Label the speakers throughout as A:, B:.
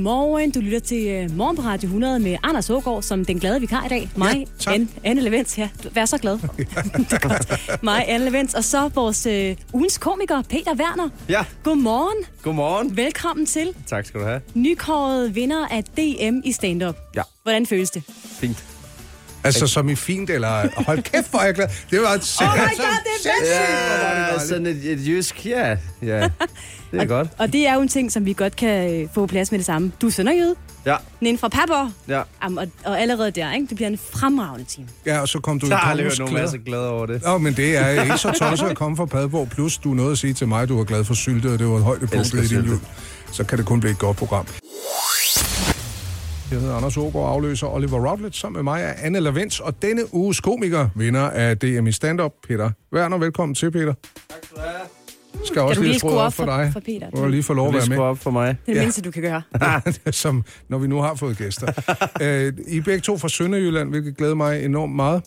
A: Godmorgen, du lytter til uh, Morgen på Radio 100 med Anders Ågaard, som den glade vikar i dag. Mig,
B: tak.
A: Anne, Anne Levens. Ja, vær så glad. det er godt. Mig, Anne Levens, og så vores uh, ugens komiker, Peter Werner.
C: Ja,
A: Godmorgen,
C: godmorgen.
A: velkommen til
C: Tak skal du have.
A: nykåret vinder af DM i stand-up.
C: Ja.
A: Hvordan føles det?
C: Fint.
B: Altså, som i fint, eller hold kæft, hvor er jeg glad. Det var et sæt.
A: Oh my God, det er
C: Ja, sådan et, et jysk, ja. ja. Det er godt.
A: Og det er jo en ting, som vi godt kan øh, få på plads med det samme. Du er sønderjyde,
C: Ja,
A: Nen fra Papper.
C: ja.
A: Jamen, og, og allerede der, ikke? det bliver en fremragende time.
B: Ja, og så kom du
C: Der
B: i
C: har jeg aldrig
B: kongens
C: hørt nogen være
B: klæder.
C: så glad over det.
B: Nå, men det er ikke så tosset at komme fra Padborg. Plus, du nåede at sige til mig, at du var glad for syltet, og det var
C: Elsker
B: højdepunktet i din
C: syltet.
B: jul. Så kan det kun blive et godt program. Jeg hedder Anders Ågaard, afløser Oliver Routledge, sammen med mig er Anne Lavens, og denne uges komiker, vinder af DM i stand-up, Peter Werner. Velkommen til, Peter. Skal også
A: du lige
B: lige skrue
A: skrue
B: op
A: op
B: for
A: for-
B: dig.
A: for Peter?
B: Du har lige få lov at
C: Du
B: være
C: skal
B: med.
C: op for mig.
A: Det er det
B: Ja.
A: mindste, du kan gøre.
B: som når vi nu har fået gæster. Øh, I er begge to fra Sønderjylland, hvilket glæder mig enormt meget.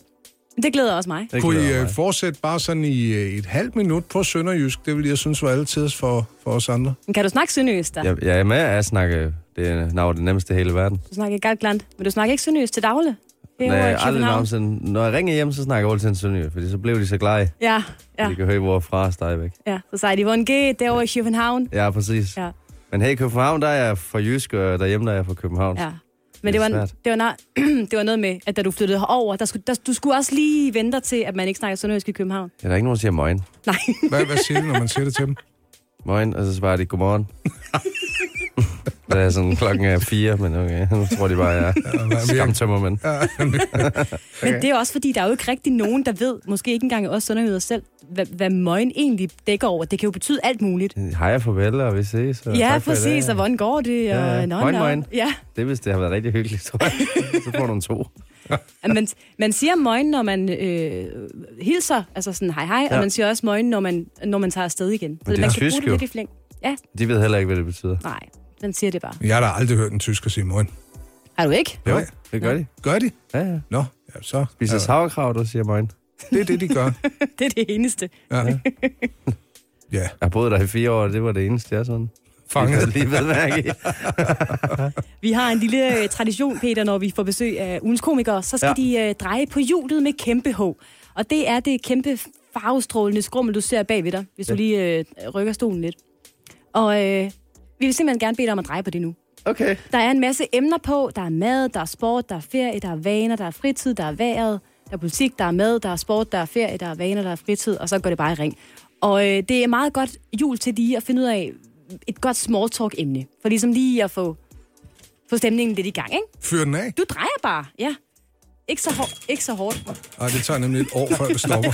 A: Men Det glæder også mig.
C: Det
B: Kunne I
C: glæder
B: øh,
C: mig.
B: fortsætte bare sådan i øh, et halvt minut på Sønderjysk? Det ville jeg synes var altid for, for os andre.
A: Men kan du snakke sønderjysk der? Ja.
C: Jeg, jeg er med at snakke. Det er navn det nemmeste i hele verden.
A: Du snakker ikke glant, men du snakker ikke sønderjysk til daglig. Det er
C: Nej,
A: jo, øh,
C: jeg har aldrig
A: København.
C: nogensinde. Når jeg ringer hjem, så snakker jeg altid en sønderjyde, fordi så blev de så glade.
A: Ja,
C: Ja.
A: ja,
C: De kan høre, hvor jeg er fra og stadigvæk.
A: ja. Så sagde de, hvor en G derovre i København.
C: Ja, præcis.
A: Ja,
C: Men her i København, der er jeg fra Jysk, og derhjemme, der er jeg fra København.
A: ja. Men
C: Det
A: det
C: er
A: var,
C: svært.
A: det, var, no- det var noget med, at da du flyttede herover, der skulle, der, du skulle også lige vente dig til, at man ikke snakker sønderjysk i København.
C: Ja, der er ikke nogen, der siger morgen.
A: Nej,
B: Hvad, hvad siger de, når man siger det til dem?
C: Morgen, og så svarer de, godmorgen. det er sådan, klokken er fire, men okay. Nu tror de bare, jeg er skamtømmermand.
A: men det er også fordi, der er jo ikke rigtig nogen, der ved, måske ikke engang os sønderjyder selv, hvad, hvad møgen egentlig dækker over. Det kan jo betyde alt muligt.
C: Hej og farvel, og vi ses. Og
A: Ja,
C: tak for i
A: præcis,
C: dag.
A: og hvordan går det? Og,
C: Ja,
A: nå,
C: moin,
A: nå.
C: moin.
A: Ja,
C: Det er, hvis det har været rigtig hyggeligt, tror jeg. Så får du en to.
A: man, man siger moin, når man øh, hilser, altså sådan hej hej, ja. og
C: Ja.
A: man siger også moin, når man, når man tager afsted igen. Så
C: det er
A: man
C: tysk
A: bruge det
C: jo.
A: lidt i flæng. Ja,
C: De ved heller ikke, hvad det betyder.
A: nej, den siger det bare.
B: Jeg har da aldrig hørt en tysker sige morgen.
A: Har du ikke?
B: Jo,
C: Jo, det gør de.
B: gør de?
C: Ja, ja.
B: Nå, ja, så.
C: Spiser
B: ja,
C: sauerkraut og siger morgen.
B: det er det, de gør.
A: Det er det eneste.
B: Ja. ja,
C: Jeg har boet der i fire år, og det var det eneste, jeg sådan. Jeg
B: fanget.
C: lige ved mærke i.
A: Vi har en lille øh, tradition, Peter, når vi får besøg af ugens komikere, så skal ja.
C: Ja.
A: de øh, dreje på hjulet med kæmpe H. Og det er det kæmpe farvestrålende skrummel, du ser bagved dig, hvis ja. du lige øh, rykker stolen lidt. Og øh, vi vil simpelthen gerne bede dig om at dreje på det nu.
C: Okay.
A: Der er en masse emner på. Der er mad, der er sport, der er ferie, der er vaner, der er fritid, der er vejret, der er politik, der er mad, der er sport, der er ferie, der er vaner, der er fritid, og så går det bare i ring. Og øh, det er meget godt jul til lige at finde ud af et godt small talk emne. For ligesom lige at få, få stemningen lidt i gang, ikke?
B: Fyr den af.
A: Du drejer bare, ja. Ikke så, hår, ikke så hårdt.
B: Ej, det tager nemlig et år, før det stopper.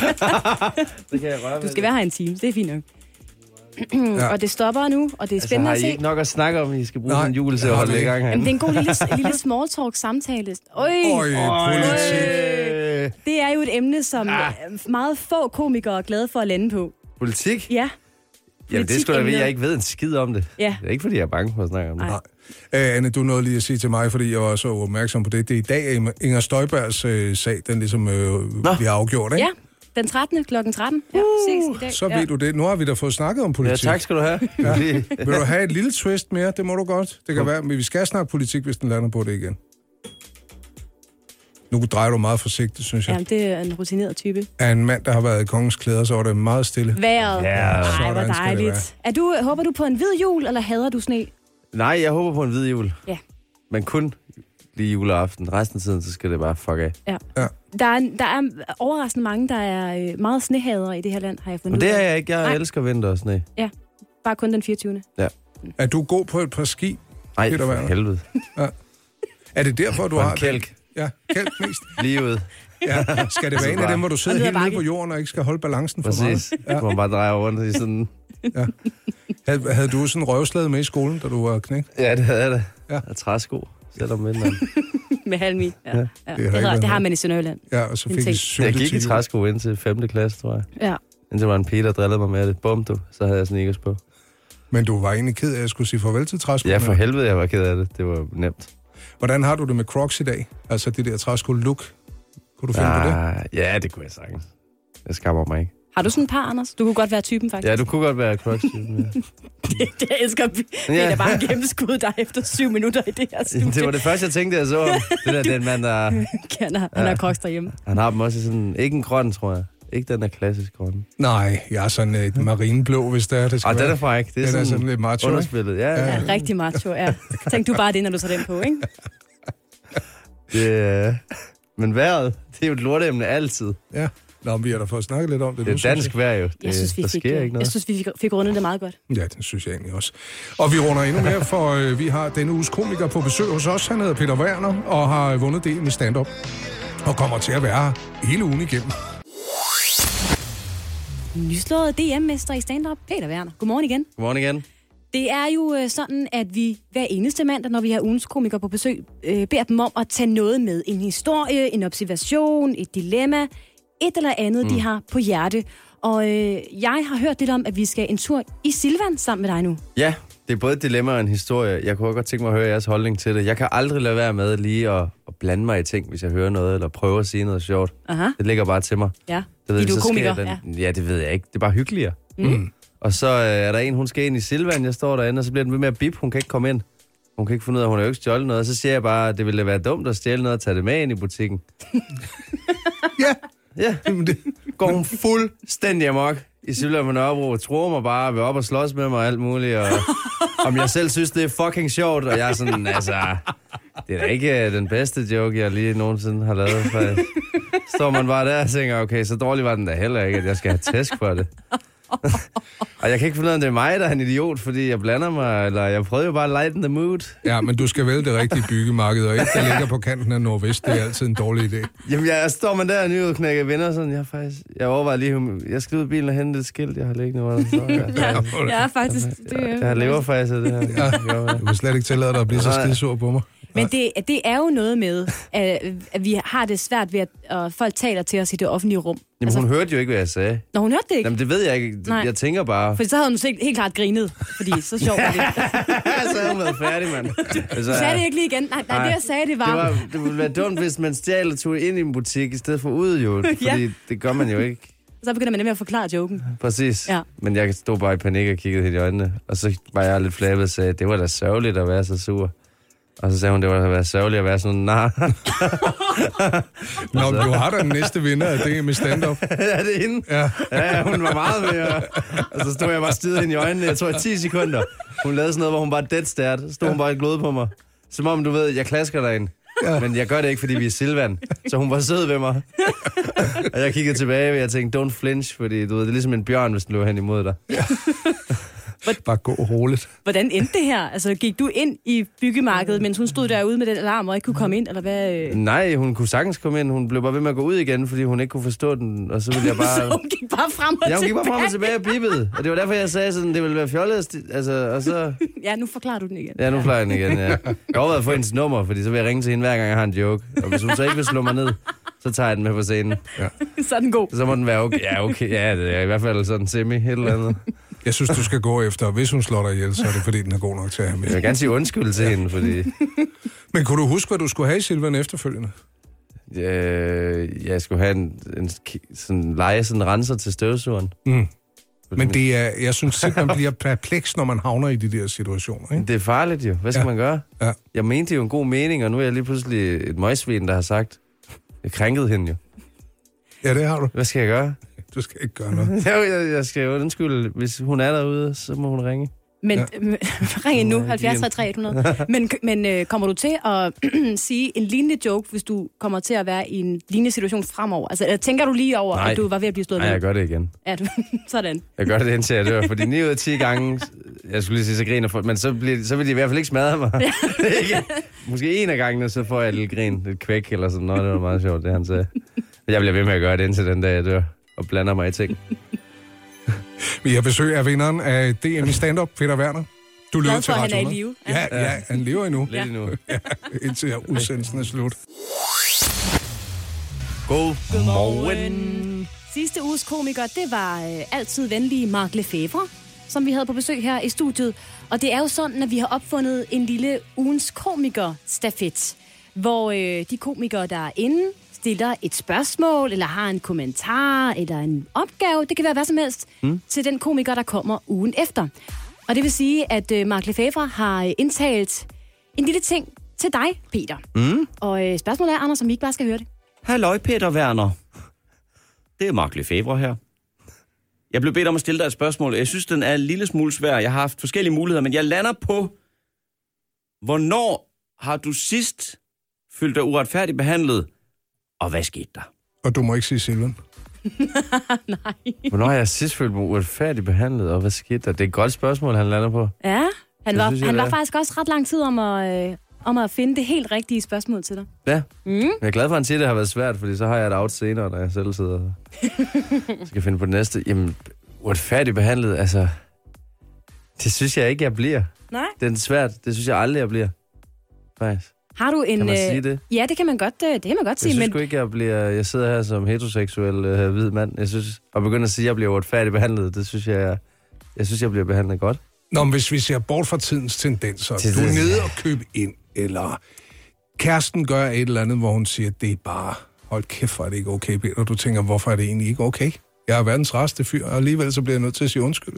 C: Det kan jeg røre
A: Du skal være her en time, det er fint nok.
B: Ja.
A: Ja. Og det stopper nu, og det er
C: Altså,
A: spændende
C: har
A: altså,
C: I
A: at
C: ikke
A: se.
C: nok at snakke om, I skal bruge
B: Nej,
C: en jul til
B: det
C: at
B: har
C: holde
B: vi
C: i
B: ikke.
C: gang
A: Jamen, det er
C: herinde?
A: en god lille, lille small talk samtale. Øj,
B: Øj, politik.
C: Øh,
A: Det er jo et emne, som øh, meget få komikere er glade for at lande på.
C: Politik?
A: Ja,
C: Jamen, det skulle jeg ved.
A: Politikemner.
C: Jeg ikke ved en skid om det.
A: Ja.
C: Det er ikke, fordi jeg er bange for at snakke om det.
A: Nej.
B: Øh, Anne, du nåede lige at sige til mig, fordi jeg var så opmærksom på det. Det er i dag, at Inger Støjbergs øh, sag, den ligesom øh, bliver afgjort, ikke?
A: ja. Den 13. klokken 13. Ja, præcis. I dag.
B: Så
A: ja.
B: ved du det. Nu har vi da fået snakket om
C: Ja,
B: politik.
C: tak skal du have. Fordi-
B: Vil du have et lille twist mere? Det må du godt. Det kan være, men vi skal snakke politik, hvis den lander på det igen. Nu drejer du meget forsigtigt, synes jeg.
A: Jamen, det er en rutineret type.
B: Af en mand, der har været i kongens klæder, så var det meget stille.
A: Vejret.
C: Ja,
A: Ej, hvor
B: sådan skal det
A: dejligt. Er du, håber du på en hvid jul, eller hader du sne?
C: Nej, jeg håber på en hvid jul.
A: Ja.
C: Men kun lige juleaften. Resten af tiden, så skal det bare fuck af.
A: Ja.
B: Ja.
A: Der, er, der er overraskende mange, der er øh, meget snehadere i det her land, har jeg fundet
C: Men det
A: ud
C: er
A: af.
C: jeg ikke. Jeg
A: Nej.
C: elsker vinter og sne.
A: Ja, bare kun den 24.
C: Ja.
B: Er du god på et par ski?
C: Nej,
B: Peter
C: for
B: Werner.
C: helvede.
B: Er det derfor, du
C: Og en
B: har det?
C: kælk.
B: Ja, kælk mest.
C: Lige ud.
B: Ja. Skal det være en af dem, hvor du sidder
A: Og ned ad
B: helt nede
A: bakke.
B: på jorden og ikke skal holde balancen for
C: Præcis. Ja. Hvor man bare drejer rundt i sådan...
B: meget? Hav- Havde du sådan en røvslade med i skolen, da du var knægt?
C: Ja, det havde jeg da.
B: Ja.
C: Ja. Og træsko. Selvom vinteren.
A: Med halmi. Ja. Ja. Ja. Det,
B: ikke
A: har,
B: været
A: det har
B: noget.
A: man i Sønderjylland.
B: Ja, og så
A: En
B: fik I
A: ting.
C: Jeg
B: syltet
C: gik i
B: til jul.
C: træsko indtil 5. klasse, tror jeg.
A: Ja.
C: Indtil var en Peter, der drillede mig med det. Bum, du. Så havde jeg sneakers på.
B: Men du var egentlig ked af, at jeg skulle sige farvel til træskoene.
C: Ja, for helvede, jeg var ked af det. Det var nemt.
B: Hvordan har du det med Crocs i dag? Altså det der træsko-look. Kunne du finde på det?
C: Ah, ja, det kunne jeg sagtens. Jeg skammer mig ikke.
A: Har du sådan et par, Anders? Du kunne godt være typen, faktisk.
C: Ja, du kunne godt være crux ja.
A: det, det jeg elsker vi. Ja. Det er da bare en gennemskud dig efter syv minutter i det her studie.
C: Det var det første, jeg tænkte, jeg så. Det der, den mand, der...
A: Han har, han har koks derhjemme.
C: Han har dem også i sådan... Ikke en grøn, tror jeg. Ikke den der klassisk grønne.
B: Nej, jeg er sådan et marineblå, hvis det er, det skal
C: Ah, den
B: være.
C: er fræk. Hm. Det er,
B: Den
C: sådan,
B: er sådan lidt macho, ikke?
C: Underspillet, ja.
A: Ja,
C: ja.
A: rigtig macho, ja. Tænk du bare det, når du tager den på, ikke?
C: Det, er- men vejret, det er jo et lorteemne altid.
B: Ja. Nå, men vi har da fået snakket lidt om det,
C: Det
B: nu,
C: er
B: synes jeg.
C: dansk vejr jo. Det,
A: Jeg synes, vi
C: der
A: fik, øh,
C: sker ikke
A: jeg
C: noget.
A: synes, vi fik, fik rundet det meget godt.
B: Ja, den synes jeg egentlig også. Og vi runder endnu mere, for øh, vi har denne uges komiker på besøg hos os. Han hedder Peter Werner og har øh, vundet del med stand-up. Og kommer til at være her hele ugen igennem.
A: Nyslået DM-mester i stand-up, Peter Werner. Godmorgen igen.
C: Godmorgen igen.
A: Det er jo øh, sådan, at vi hver eneste mandag, når vi har ugens komikere på besøg, øh, beder dem om at tage noget med. En historie, en observation, et dilemma, et eller andet, mm. de har på hjerte. Og øh, jeg har hørt lidt om, at vi skal en tur i Silvan sammen med dig nu.
C: Ja, det er både et dilemma og en historie. Jeg kunne også godt tænke mig at høre jeres holdning til det. Jeg kan aldrig lade være med lige at, at blande mig i ting, hvis jeg hører noget, eller prøver at sige noget sjovt.
A: Aha.
C: Det ligger bare til mig.
A: Ja,
C: Det ved,
A: fordi
C: jeg,
A: du er
C: så sker
A: komiker. Ja.
C: Den, ja. ja, det ved jeg ikke. Det er bare hyggeligere. Mm. Og så øh, er der en, hun skal ind i Silvan. Jeg står derinde, og så bliver den ved med at bip. Hun kan ikke komme ind. Hun kan ikke finde ud af, at hun har jo ikke stjålet noget. Og så siger jeg bare, at det ville da være dumt at stjæle noget og tage det med ind i butikken.
B: Ja,
C: Ja,
B: jamen det,
C: går hun fuldstændig amok i Silvan på Nørrebro. og Tror mig bare, vil op og slås med mig og alt muligt. Og, om jeg selv synes, det er fucking sjovt. Og jeg er sådan, altså... Det er da ikke øh, den bedste joke, jeg lige nogensinde har lavet. faktisk. Står man bare der og tænker, okay, så dårlig var den da heller ikke, at jeg skal have tæsk for det. og jeg kan ikke finde ud af, om det er mig, der er en idiot, fordi jeg blander mig, eller jeg prøver jo bare at lighten the mood.
B: ja, men du skal vælge det rigtige byggemarked, og ikke der ligger på kanten af Nordvest. Det er altid en dårlig idé.
C: Jamen, jeg, jeg står man der og nyudknækket venner, sådan, jeg er faktisk, jeg overvejer lige, om- jeg skal ud af bilen og hente et skilt, jeg har liggende, hvor der står, jeg, jeg,
A: Ja, faktisk. Det,
C: jeg, jeg lever faktisk af det her. Ja.
B: Du vil slet ikke tillade dig at blive så
C: Nej.
B: skidsur på mig.
A: Men det, det er jo noget med, at, at vi har det svært ved, at og folk taler til os i det offentlige rum. Altså,
C: Jamen, hun hørte jo ikke, hvad jeg sagde.
A: Når hun hørte det ikke,
C: Jamen, det ved jeg ikke.
A: Nej.
C: Jeg tænker bare,
A: for så havde hun helt, helt klart grinet, fordi så sjovt var det.
C: så havde hun været færdig, mand. Altså,
A: Du sagde det ikke lige igen. Nej, nej, det jeg sagde, det var...
C: Det, var, det ville være dumt, hvis man stjal og tog ind i en butik, i stedet for ud jo. Fordi
A: Ja.
C: det gør man jo ikke.
A: Så begynder man nemlig at forklare joken.
C: Præcis.
A: Ja.
C: Men jeg stod bare i panik og kiggede hende i øjnene. Og så var jeg lidt flabet og sagde, det var da sørgeligt at være så sur. Og så sagde hun, det var da være sørgeligt at være sådan, nej,
B: Nå, men du har da den næste vinder af det med stand-up.
C: er det hende?
B: Ja.
C: Ja, ja, hun var meget mere. Og så stod jeg bare og stirrede hende i øjnene, jeg tror, i 10 sekunder. Hun lavede sådan noget, hvor hun bare dead stared. Så stod hun bare og glødede på mig. Som om, du ved, jeg klasker derinde. Ja. Men jeg gør det ikke, fordi vi er Silvan. Så hun var sød ved mig. og jeg kiggede tilbage, og jeg tænkte, don't flinch, fordi du ved, det er ligesom en bjørn, hvis den løber hen imod dig.
B: Bare gå roligt.
A: Hvordan endte det her? Altså, gik du ind i byggemarkedet, mens hun stod derude med den alarm og ikke kunne komme ind, eller hvad? øh?
C: Nej, hun kunne sagtens komme ind. Hun blev bare ved med at gå ud igen, fordi hun ikke kunne forstå den. Og så ville jeg bare...
A: Så hun gik bare frem og
C: Ja, hun
A: tilbage.
C: gik bare frem og tilbage og bippede. Og det var derfor, jeg sagde sådan, det ville være fjollet. at sti- Altså, og så...
A: Ja, nu forklarer du den igen.
C: Ja, nu fløj den igen, ja. Jeg overvejede at få hendes nummer, fordi så vil jeg ringe til hende, hver gang jeg har en joke. Og hvis hun så ikke vil slå mig ned, så tager jeg den med på scenen.
A: Så er den god.
C: Så må den være okay. Ja, okay. Ja, det er i hvert fald sådan semi, et eller andet.
B: Jeg synes, du skal gå efter, og hvis hun slår dig ihjel, så er det fordi, den er god nok til at have
C: Jeg
B: med.
C: vil gerne sige undskyld til hende, fordi
B: Men kunne du huske, hvad du skulle have i Silvan efterfølgende?
C: øh, jeg skulle have en, en ki- sådan, lege sådan en renser til støvsugeren.
B: Mm.
C: Fordi
B: Men det er, jeg synes selv, man bliver perpleks, når man havner i de der situationer. Ikke?
C: det er farligt jo. Hvad skal
B: Ja.
C: man gøre?
B: Ja.
C: Jeg mente jo en god mening, og nu er jeg lige pludselig et møgsvin, der har sagt, jeg krænkede hende jo.
B: Ja, det har du.
C: Hvad skal jeg gøre?
B: Du skal ikke gøre
A: Mhm.
B: noget.
C: Jo, jeg, jeg skal jo undskylde. Hvis hun er derude, så må hun ringe.
A: Men
B: Ja.
A: ja. ring ind nu,
C: Nej,
A: 70
C: igen.
A: 3 300. Men, men øh, kommer du til at sige en lignende joke, hvis du kommer til at være i en lignende situation fremover? Altså, eller tænker du lige over,
C: Nej.
A: at du var ved at blive slået
C: Nej, jeg
A: ned?
C: gør det igen.
A: Ja, du, sådan.
C: Jeg gør det indtil jeg dør, fordi 9 ud af 10 gange, jeg skulle lige sige, så griner folk, men så, bliver, så vil de i hvert fald ikke smadre mig. Ikke? Måske en af gangene, så får jeg et lille grin, et kvæk eller sådan noget. Det var meget sjovt, det han sagde. Men jeg bliver ved med at gøre det indtil den dag, jeg dør og blander mig i ting.
B: Vi har besøg af vinderen af DM i stand-up, Peter Werner. Du lyder
A: Glad
B: til
A: for, at han
B: Radio
A: er i
B: 100.
A: live.
B: Ja, ja, han lever endnu,
C: Lidt endnu.
B: indtil udsendelsen er slut.
C: Godmorgen.
A: Sidste uges komiker, det var øh, altid venlige Mark Lefebvre, som vi havde på besøg her i studiet. Og det er jo sådan, at vi har opfundet en lille ugens komiker-stafet, hvor øh, de komikere, der er inde, stiller et spørgsmål, eller har en kommentar, eller en opgave, det kan være hvad som helst, mm. til den komiker, der kommer ugen efter. Og det vil sige, at øh, Mark Lefebvre har øh, indtalt en lille ting til dig, Peter. Mm. Og øh, spørgsmålet er, Anders, om vi ikke bare skal høre det.
D: Halløj, Peter Werner. Det er Mark Lefebvre her. Jeg blev bedt om at stille dig et spørgsmål. Jeg synes, den er en lille smule svær. Jeg har haft forskellige muligheder, men jeg lander på, hvornår har du sidst følt dig uretfærdigt behandlet, og hvad skete der?
B: Og du må ikke sige Silvan.
C: Hvornår har jeg sidst følt mig uretfærdigt behandlet, og hvad skete der? Det er et godt spørgsmål, han lander på.
A: Ja, han
C: Det
A: var,
C: synes jeg,
A: han
C: det
A: var
C: er.
A: faktisk også ret lang tid om at, øh, om at finde det helt rigtige spørgsmål til dig.
C: Ja. Mm. Jeg er glad for, at han siger, at det har været svært, fordi så har jeg et out senere, når jeg selv sidder og skal finde på det næste. Jamen, uretfærdigt behandlet, altså... Det synes jeg ikke, jeg bliver.
A: Nej.
C: Det er svært. Det synes jeg aldrig, jeg bliver. Faktisk.
A: Har du en...
C: Kan man
A: øh,
C: sige det?
A: Ja, det kan man godt, øh, det kan man godt
C: Jeg
A: sige,
C: synes
A: men...
C: men... sgu ikke, jeg bliver... Jeg sidder her som heteroseksuel øh, hvid mand. Jeg synes... Og begynder at sige, at jeg bliver uretfærdigt behandlet. Det synes jeg... Jeg synes, jeg bliver behandlet godt.
B: Nå, men hvis vi ser bort fra tidens tendenser,
C: Til
B: du er
C: tiden.
B: nede og køb ind, eller kæresten gør et eller andet, hvor hun siger, det er bare, hold kæft, hvor er det ikke okay, Peter. Du tænker, hvorfor er det egentlig ikke okay? Jeg er verdens rareste fyr, og alligevel så bliver jeg nødt til at sige undskyld.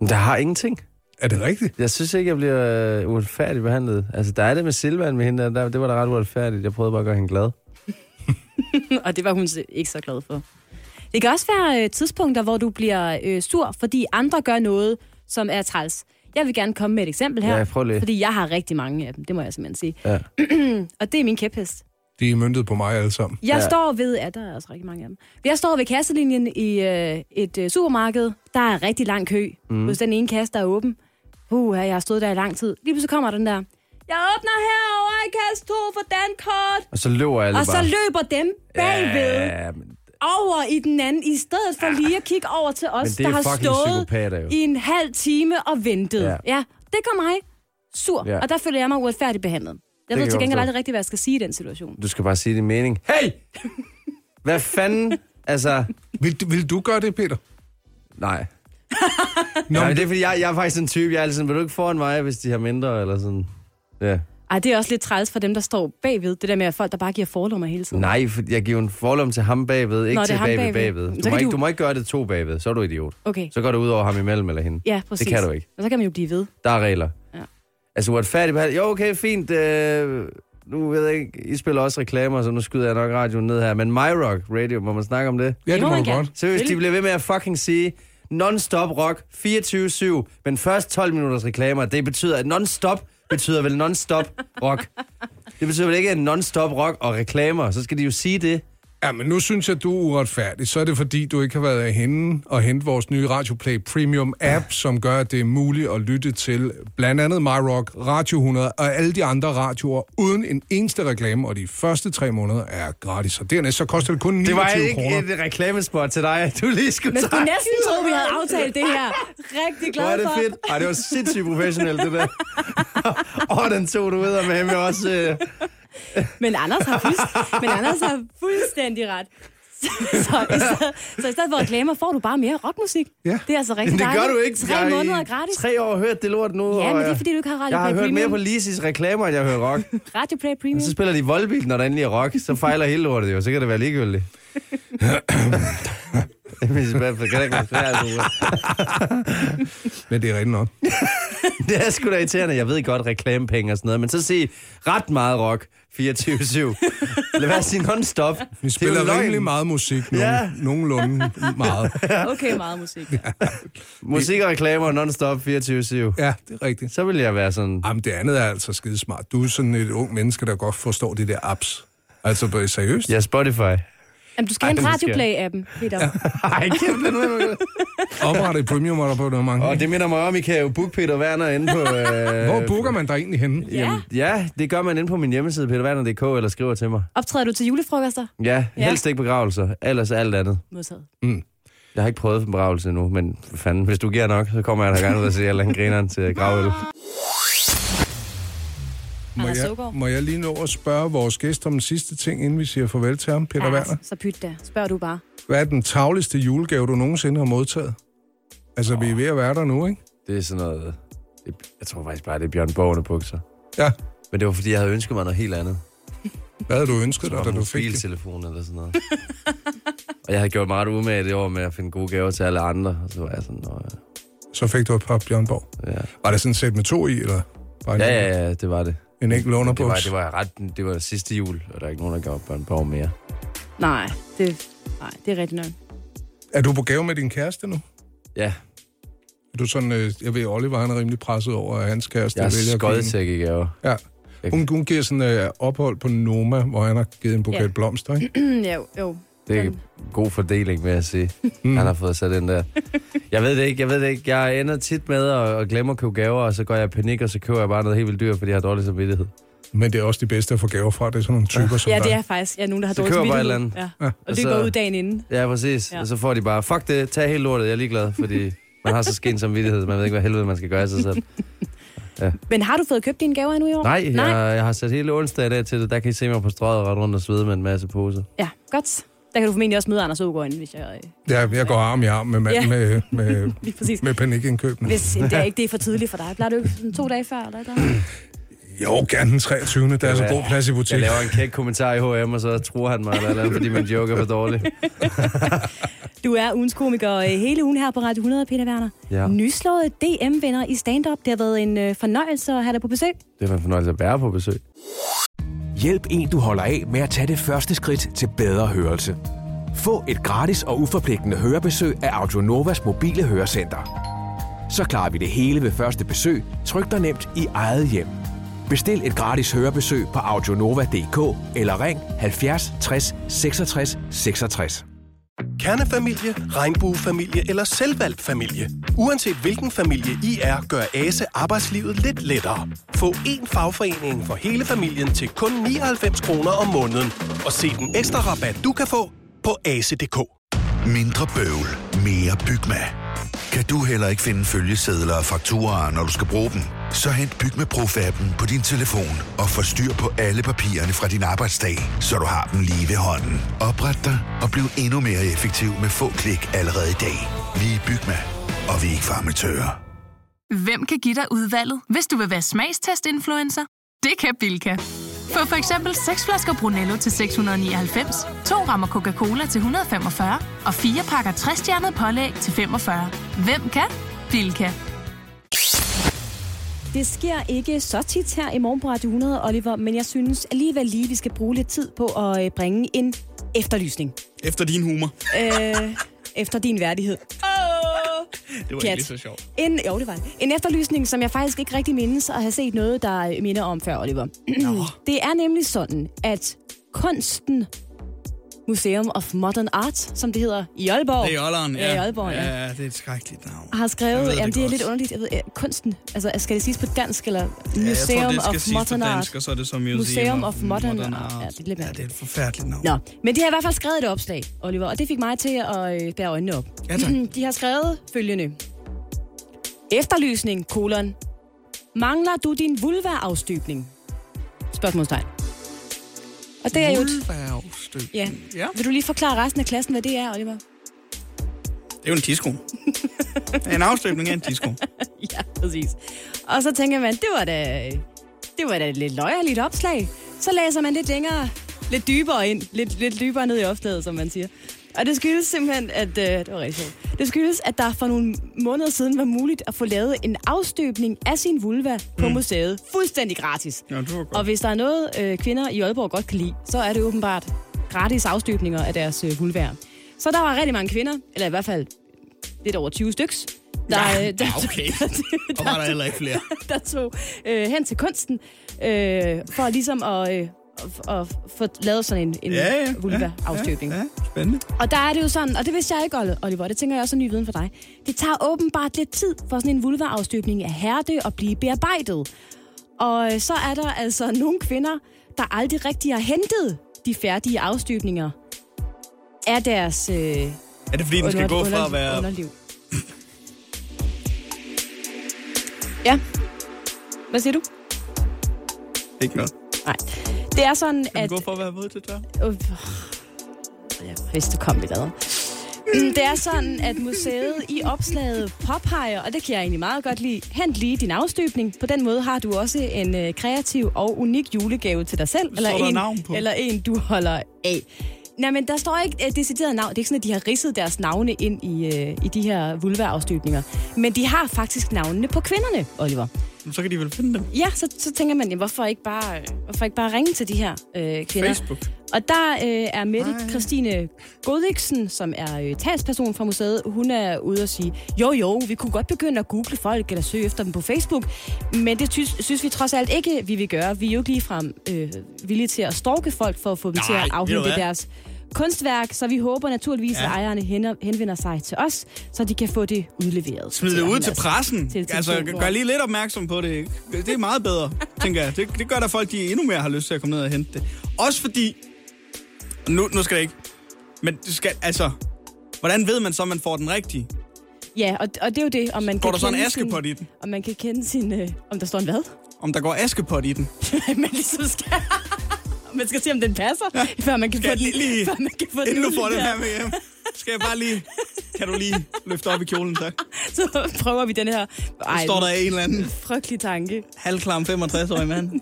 C: Men der har ingenting.
B: Er det rigtigt?
C: Jeg synes ikke, jeg bliver øh, uretfærdigt behandlet. Altså, der er det med Silvan med hende, der, der, det var da ret uretfærdigt. Jeg prøvede bare at gøre hende glad.
A: og det var hun ikke så glad for. Det kan også være øh, tidspunkter, hvor du bliver øh, sur, fordi andre gør noget, som er træls. Jeg vil gerne komme med et eksempel her,
C: Ja, prøv lige.
A: fordi jeg har rigtig mange af dem, det må jeg simpelthen sige.
C: Ja.
A: Og det er min kæphest.
B: De er myndet på mig alle sammen.
A: Jeg
C: Ja.
A: ja. står ved, ja, der er også rigtig mange af dem. Jeg står ved kasselinjen i øh, et øh, supermarked. Der er rigtig lang kø mm. hos den ene kasse, der er åben. Uh, jeg har stået der i lang tid. Lige pludselig kommer den der. Jeg åbner herovre i kasse 2 for Dankort.
C: Og så løber alle
A: Og så
C: bare.
A: løber dem bagved.
C: Ja, men,
A: over i den anden, i stedet for lige at kigge over til
C: men
A: os,
C: det
A: der
C: er
A: har
C: fucking
A: stået
C: psykopater jo.
A: i en halv time og ventet.
C: Ja.
A: Ja, ja det gør mig sur,
C: Ja.
A: ja. og der føler jeg mig uretfærdigt behandlet. Jeg
C: kan
A: ved
C: jeg
A: til
C: godt
A: gengæld
C: forstå.
A: aldrig rigtigt, hvad jeg skal sige i den situation.
C: Du skal bare sige din mening. Hey! Hvad fanden? Altså,
B: Vil, du- vil du gøre det, Peter?
C: nej.
B: Nå,
C: Nej,
B: men
C: men det er fordi, jeg, jeg er faktisk en type, jeg er altid sådan, vil du ikke foran mig, hvis de har mindre, eller sådan. Ja.
A: Ej, det er også lidt træls for dem, der står bagved. Det der med at folk, der bare giver forlommer hele tiden.
C: Nej, for jeg giver en forlom til ham bagved, ikke
A: Nå, det
C: til
A: er ham
C: bagved
A: bagved.
C: bagved.
A: Så
C: Du
A: kan
C: må, ikke,
A: du-
C: du må ikke gøre det to bagved, så er du idiot.
A: Okay,
C: Så går det ud over ham imellem eller hende.
A: ja, præcis.
C: kan du ikke.
A: Men så kan man jo blive ved.
C: Der er regler. Ja.
A: Ja.
C: Altså uretfærdigt behandling. Jo, okay, fint. Øh, nu ved jeg ikke, I spiller også reklamer, så nu skyder jeg nok radioen ned her. Men MyRock Radio, må man snakke om det?
B: ja,
A: det
B: det
A: må
B: må
A: man
B: du
A: gerne.
B: godt.
C: Seriøst, de
A: Selvfølgelig.
C: bliver ved med at fucking sige non-stop rock 24-7, men først 12 minutters reklamer. Det betyder, at non-stop betyder vel non-stop rock. Det betyder vel ikke, at non-stop rock og reklamer, så skal de jo sige det.
B: Ja, men nu synes jeg, du er uretfærdig. Så er det, fordi du ikke har været henne og hentet vores nye Radioplay Premium app, som gør, at det er muligt at lytte til blandt andet MyRock, Radio 100 og alle de andre radioer, uden en eneste reklame, og de første tre måneder er gratis. Og dernæst så koster det kun 29
C: Det var
B: kroner.
C: ikke et reklamespot til dig, at du lige skulle
A: Men du
C: tage.
A: næsten tro, vi havde aftalt det her. Rigtig
C: Hvor er
A: glad
C: det
A: for.
C: fedt. Ej, det var sindssygt professionelt, det der. og den tog du ud med mig også. Øh.
A: Men Anders har, fuldst- men Anders har fuldstændig ret. Så, så, i stedet, så i stedet for reklamer får du bare mere rockmusik.
B: Ja.
A: Det er altså rigtig
C: Men det gør
A: dejligt.
C: du ikke.
A: Tre
C: Jeg har i
A: måneder er gratis.
C: Tre år har hørt det lort nu.
A: Ja,
C: og
A: men det er
C: jeg-
A: fordi, du ikke har Radio
C: Jeg har
A: Play
C: hørt mere Altså,
A: Premium.
C: på Lisis reklamer, end jeg hører rock.
A: Radio Play
C: Men
A: Premium.
C: så spiller de voldbil, når der endelig er rock. Så fejler hele lortet jo. Så kan det være ligegyldigt. Hvis i hvert fald kan det ikke være svært, altså.
B: Men det er rigtigt nok.
C: det er sgu da irriterende. Jeg ved godt, reklamepenge og sådan noget, men så sig ret meget rock 24-7. Lad være at sige non-stop.
B: Vi
C: det er
B: spiller
C: jo
B: rimelig
C: løgn.
B: meget musik nu. Ja.
C: Ja.
B: Nogenlunde meget.
A: Okay, meget musik.
C: Musik og reklamer non-stop 24-7.
B: Ja, det er rigtigt.
C: Så vil jeg være sådan...
B: Jamen, det andet er altså skidesmart. Du er sådan et ung menneske, der godt forstår de der apps. Altså, det er seriøst?
C: Ja, Spotify.
A: Jamen, du skal
C: Ej,
A: have en
C: det
A: Radio
C: skal jeg.
A: Play-appen, Peter.
C: Ej, kæft, den med
B: Opret et premium, og der på noget mange.
C: Og det minder mig om, I kan jo booke Peter Werner inde på... Øh...
B: Hvor booker man dig egentlig henne?
A: Ja.
C: Jamen, ja, det gør man inde på min hjemmeside, peterwerner.dk, eller skriver til mig.
A: Optræder du til julefrokoster?
C: Ja,
A: Ja.
C: helst ikke begravelser, ellers alt andet.
A: Modtaget.
C: Jeg har ikke prøvet en begravelse endnu, men for fanden, hvis du giver nok, så kommer jeg da gerne ud og se alle grineren til gravøl.
B: Må
A: Anders
B: jeg,
A: Søgaard.
B: må jeg lige nå at spørge vores gæst om den sidste ting, inden vi siger farvel til ham, Peter Werner?
A: så pyt da. Spørg du bare.
B: Hvad er den tavligste julegave, du nogensinde har modtaget? Altså, vi er ved at være der nu, ikke?
C: Det er sådan noget... Det, jeg tror faktisk bare, det er Bjørn Borgerne bukser.
B: Ja,
C: Men det var, fordi jeg havde ønsket mig noget helt andet.
B: Hvad havde du ønsket dig, da du fik det?
C: Mobiltelefon eller sådan noget. og jeg havde gjort meget umage det år med at finde gode gaver til alle andre. Og så var jeg sådan, "Nå,
B: Så fik du et par Bjørn Borg.
C: ja.
B: Var det sådan et sæt med to i, eller bare en,
C: Ja, ja, ja, det var det.
B: en enkelt
C: Det var,
B: underbuks?
C: det var ret, det var sidste jul, og der er ikke nogen, der gav børn på mere.
A: Nej, det, nej, det er rigtigt nok.
B: Er du på gave med din kæreste nu?
C: Ja,
B: Er du sådan, øh, jeg ved, Oliver han er rimelig presset over, at hans kæreste
C: jeg
B: vælger
C: er
B: at give
C: skøjet
B: en-
C: til at give gaver.
B: Ja. Hun, hun giver sådan øh, ophold på Noma, hvor han har givet en buket
A: Ja.
B: blomster, ikke?
A: ja, jo, jo.
C: Det er en god fordeling, vil jeg sige. Mm. Han har fået sat den der. Jeg ved det ikke, jeg ved det ikke. Jeg ender tit med at, at glemme at købe gaver, og så går jeg i panik, og så køber jeg bare noget helt vildt dyrt, fordi jeg har dårlig samvittighed.
B: Men det er også de bedste at få gaver fra. Det er sådan nogle typer, som
A: Ja, det
B: dig.
A: er faktisk. Ja, nogen, der har
C: Så
A: dårlig
C: køber bare et
A: samvittighed.
C: eller
A: Ja.
B: Ja.
A: Og det
C: Altså-
A: går ud dagen inden.
C: Ja, præcis.
A: Ja.
C: Ja. Og så får de bare, fuck det, tag helt lortet, jeg er ligeglad, fordi man har så sken samvittighed, man ved ikke, hvad helvede man skal gøre af sig selv.
A: Men har du fået købt dine gaver endnu i år?
C: Nej,
A: Nej.
C: Jeg, jeg har sat hele onsdag i dag til det. Der kan I se mig på strøget ret rundt og svede med en masse poser.
A: Ja, godt. Der kan du formentlig også møde Anders Ågaard inden, hvis jeg... øh,
B: Ja, jeg går arm i arm med mand
A: Ja.
B: ja. med, med,
A: Lige præcis.
B: med panikindkøbene.
A: Hvis det er ikke det er for tidligt for dig. Plejer du ikke sådan to dage før? Eller et eller andet?
B: Jo, gerne den 23. Der er så god plads i
C: Jeg
B: butikken.
C: laver en kæk kommentar i H&M, og så truer han mig eller et eller andet, fordi min joke er for dårlig.
A: Du er ugens komiker øh, hele ugen her på Radio 100, Peter Werner.
C: Ja.
A: Nyslået DM-vinder i stand-up. Det har været en øh, fornøjelse at have dig på besøg.
C: Det var en fornøjelse at være på besøg.
E: Hjælp en, du holder af med at tage det første skridt til bedre hørelse. Få et gratis og uforpligtende hørebesøg af Audionovas mobile hørecenter. Så klarer vi det hele ved første besøg, tryk dig nemt i eget hjem. Bestil et gratis hørebesøg på audionova.dk eller ring 70 60 66 66.
F: Kernefamilie, regnbuefamilie eller selvvalgt familie. Uanset hvilken familie I er, gør ASE arbejdslivet lidt lettere. Få én fagforening for hele familien til kun 99 kroner om måneden. Og se den ekstra rabat, du kan få på ase.dk.
G: Mindre bøvl, mere Bygma. Kan du heller ikke finde følgesedler og fakturer, når du skal bruge dem? Så hent Bygma Pro-appen på din telefon og få styr på alle papirerne fra din arbejdsdag, så du har dem lige ved hånden. Opret dig og bliv endnu mere effektiv med få klik allerede i dag. Vi er Bygma, og vi er ikke farmatører.
H: Hvem kan give dig udvalget, hvis du vil være smagstest-influencer? Det kan Bilka. Få for eksempel 6 flasker Brunello til 699, 2 rammer Coca-Cola til 145 og 4 pakker 60-stjernet pålæg til 45. Hvem kan? Bilka.
A: Det sker ikke så tit her i morgen på Radio 100, Oliver, men jeg synes alligevel lige, vi skal bruge lidt tid på at øh, bringe en efterlysning.
I: Efter din humor.
A: øh, efter din værdighed.
I: Det var
A: Pjat.
I: ikke så sjovt.
A: En, jo, det var det. En efterlysning, som jeg faktisk ikke rigtig mindes at have set noget, der øh, minder om før, Oliver. det er nemlig sådan, at kunsten Museum of Modern Art, som det hedder i Aalborg,
I: Det er Jolleren,
A: Ja, i Aalborg, ja.
I: ja. det er et skrækkeligt navn.
A: har skrevet,
I: Jeg ved
A: det
I: det
A: jamen det er
I: godt.
A: lidt underligt, jeg ved, øh, kunsten, altså skal det siges på dansk, eller Museum
I: ja, jeg tror, det skal
A: of
I: siges
A: Modern
I: på
A: Art?
I: dansk, og så er det så Museum,
A: Museum of Modern Art. Ja,
I: Ja,
A: det er lidt
I: det, er ja,
A: mærkeligt.
I: det er et forfærdeligt navn.
A: Nå, men de har i hvert fald skrevet et opslag, Oliver, og det fik mig til at øh, bære øjnene op.
I: Ja, tak.
A: De har skrevet følgende. Efterlysning, kolon. Mangler du din vulva-afstøbning? Spørgsmålstegn. Og det er jo... et-
I: Ulværvstøb.
A: Ja.
I: ja.
A: Vil du lige forklare resten af klassen, hvad det er, Oliver?
I: Det er jo en disco. en afstøbning af en disco.
A: Ja, præcis. Og så tænker man, det var da, det var da et lidt løjerligt opslag. Så læser man lidt længere, lidt dybere ind, lidt, lidt dybere ned i opslaget, som man siger. Og det skyldes simpelthen, at øh, det var rigtig sjovt. Det skyldes, at der for nogle måneder siden var muligt at få lavet en afstøbning af sin vulva på museet. Fuldstændig gratis.
I: Ja, det var godt.
A: Og hvis der er noget, øh, kvinder i Aalborg godt kan lide, så er det åbenbart gratis afstøbninger af deres øh, vulvær. Så der var rigtig mange kvinder, eller i hvert fald lidt over 20 styks, der,
I: Ja,
A: øh, der,
I: okay.
A: der,
I: Og var der heller ikke flere.
A: der tog øh, hen til kunsten, øh, for ligesom at, øh, at, at få lavet sådan en, en vulva-afstøbning.
I: Ja, ja, spændende.
A: Og der er det jo sådan, og det vidste jeg ikke, Olle- Oliver, det tænker jeg også er ny viden for dig. Det tager åbenbart lidt tid for sådan en vulva-afstøbning at hærde og blive bearbejdet. Og øh, så er der altså nogle kvinder, der aldrig rigtig har hentet de færdige afstøbninger af deres øh,
I: Er det fordi, den skal
A: under-
I: gå fra at
A: under-
I: være...
A: underliv. Ja. Hvad siger du?
I: Ikke noget.
A: Nej. Det er sådan,
I: Den
A: at...
I: går fra at være våd til tør.
A: Øh, Jeg vidste, du kom i lader. Mm, Det er sådan, at museet i opslaget påpeger, og det kan jeg egentlig meget godt lide, hent lige din afstøbning. På den måde har du også en øh, kreativ og unik julegave til dig selv. Eller
I: der
A: en,
I: navn på?
A: Eller en, du holder af. Nej, men der står ikke et decideret navn. Det er ikke sådan, at de har ridset deres navne ind i, øh, i de her vulvaafstøbninger. Men de har faktisk navnene på kvinderne, Oliver.
I: Så kan de vel finde dem.
A: Ja, så, så tænker man, jamen, hvorfor, ikke bare, øh, hvorfor ikke bare ringe til de her øh, kvinder?
I: Facebook.
A: Og der øh, er Mette Ej. Christine Godiksen, som er øh, talsperson fra museet, hun er ude og sige, jo jo, vi kunne godt begynde at google folk eller søge efter dem på Facebook, men det synes, synes vi trods alt ikke, vi vil gøre. Vi er jo ikke ligefrem øh, villige til at storke folk for at få dem
I: Nej,
A: til at
I: ved du
A: afhente
I: hvad?
A: deres kunstværk, så vi håber naturligvis, ja. at ejerne hen- henvender sig til os, så de kan få det udleveret.
I: Smid det
A: dem,
I: ud til
A: altså.
I: pressen.
A: Til- til
I: altså,
A: telefonen.
I: gør lige lidt opmærksom på det. Det er meget bedre, tænker jeg. Det, det gør der folk, de endnu mere har lyst til at komme ned og hente det. Også fordi... Nu, nu skal det ikke. Men det skal, altså... Hvordan ved man så, at man får den rigtige?
A: Ja, og, og det er jo det, om man
I: Går
A: kan
I: der så en
A: kende
I: askepot i den?
A: Om man kan kende sin... Øh, om der står en hvad?
I: Om der går askepot i den?
A: man ligesom skal... man skal se, om den passer, ja. før man kan
I: Skal
A: få
I: jeg
A: den...
I: lige, lige
A: før man kan få
I: inden du får den
A: udleveret.
I: her med hjem, skal jeg bare lige... Kan du lige løfte op i kjolen, tak?
A: Så prøver vi den her... Ej,
I: Står der en eller anden
A: frygtelig tanke.
I: halvklam 65-årig mand?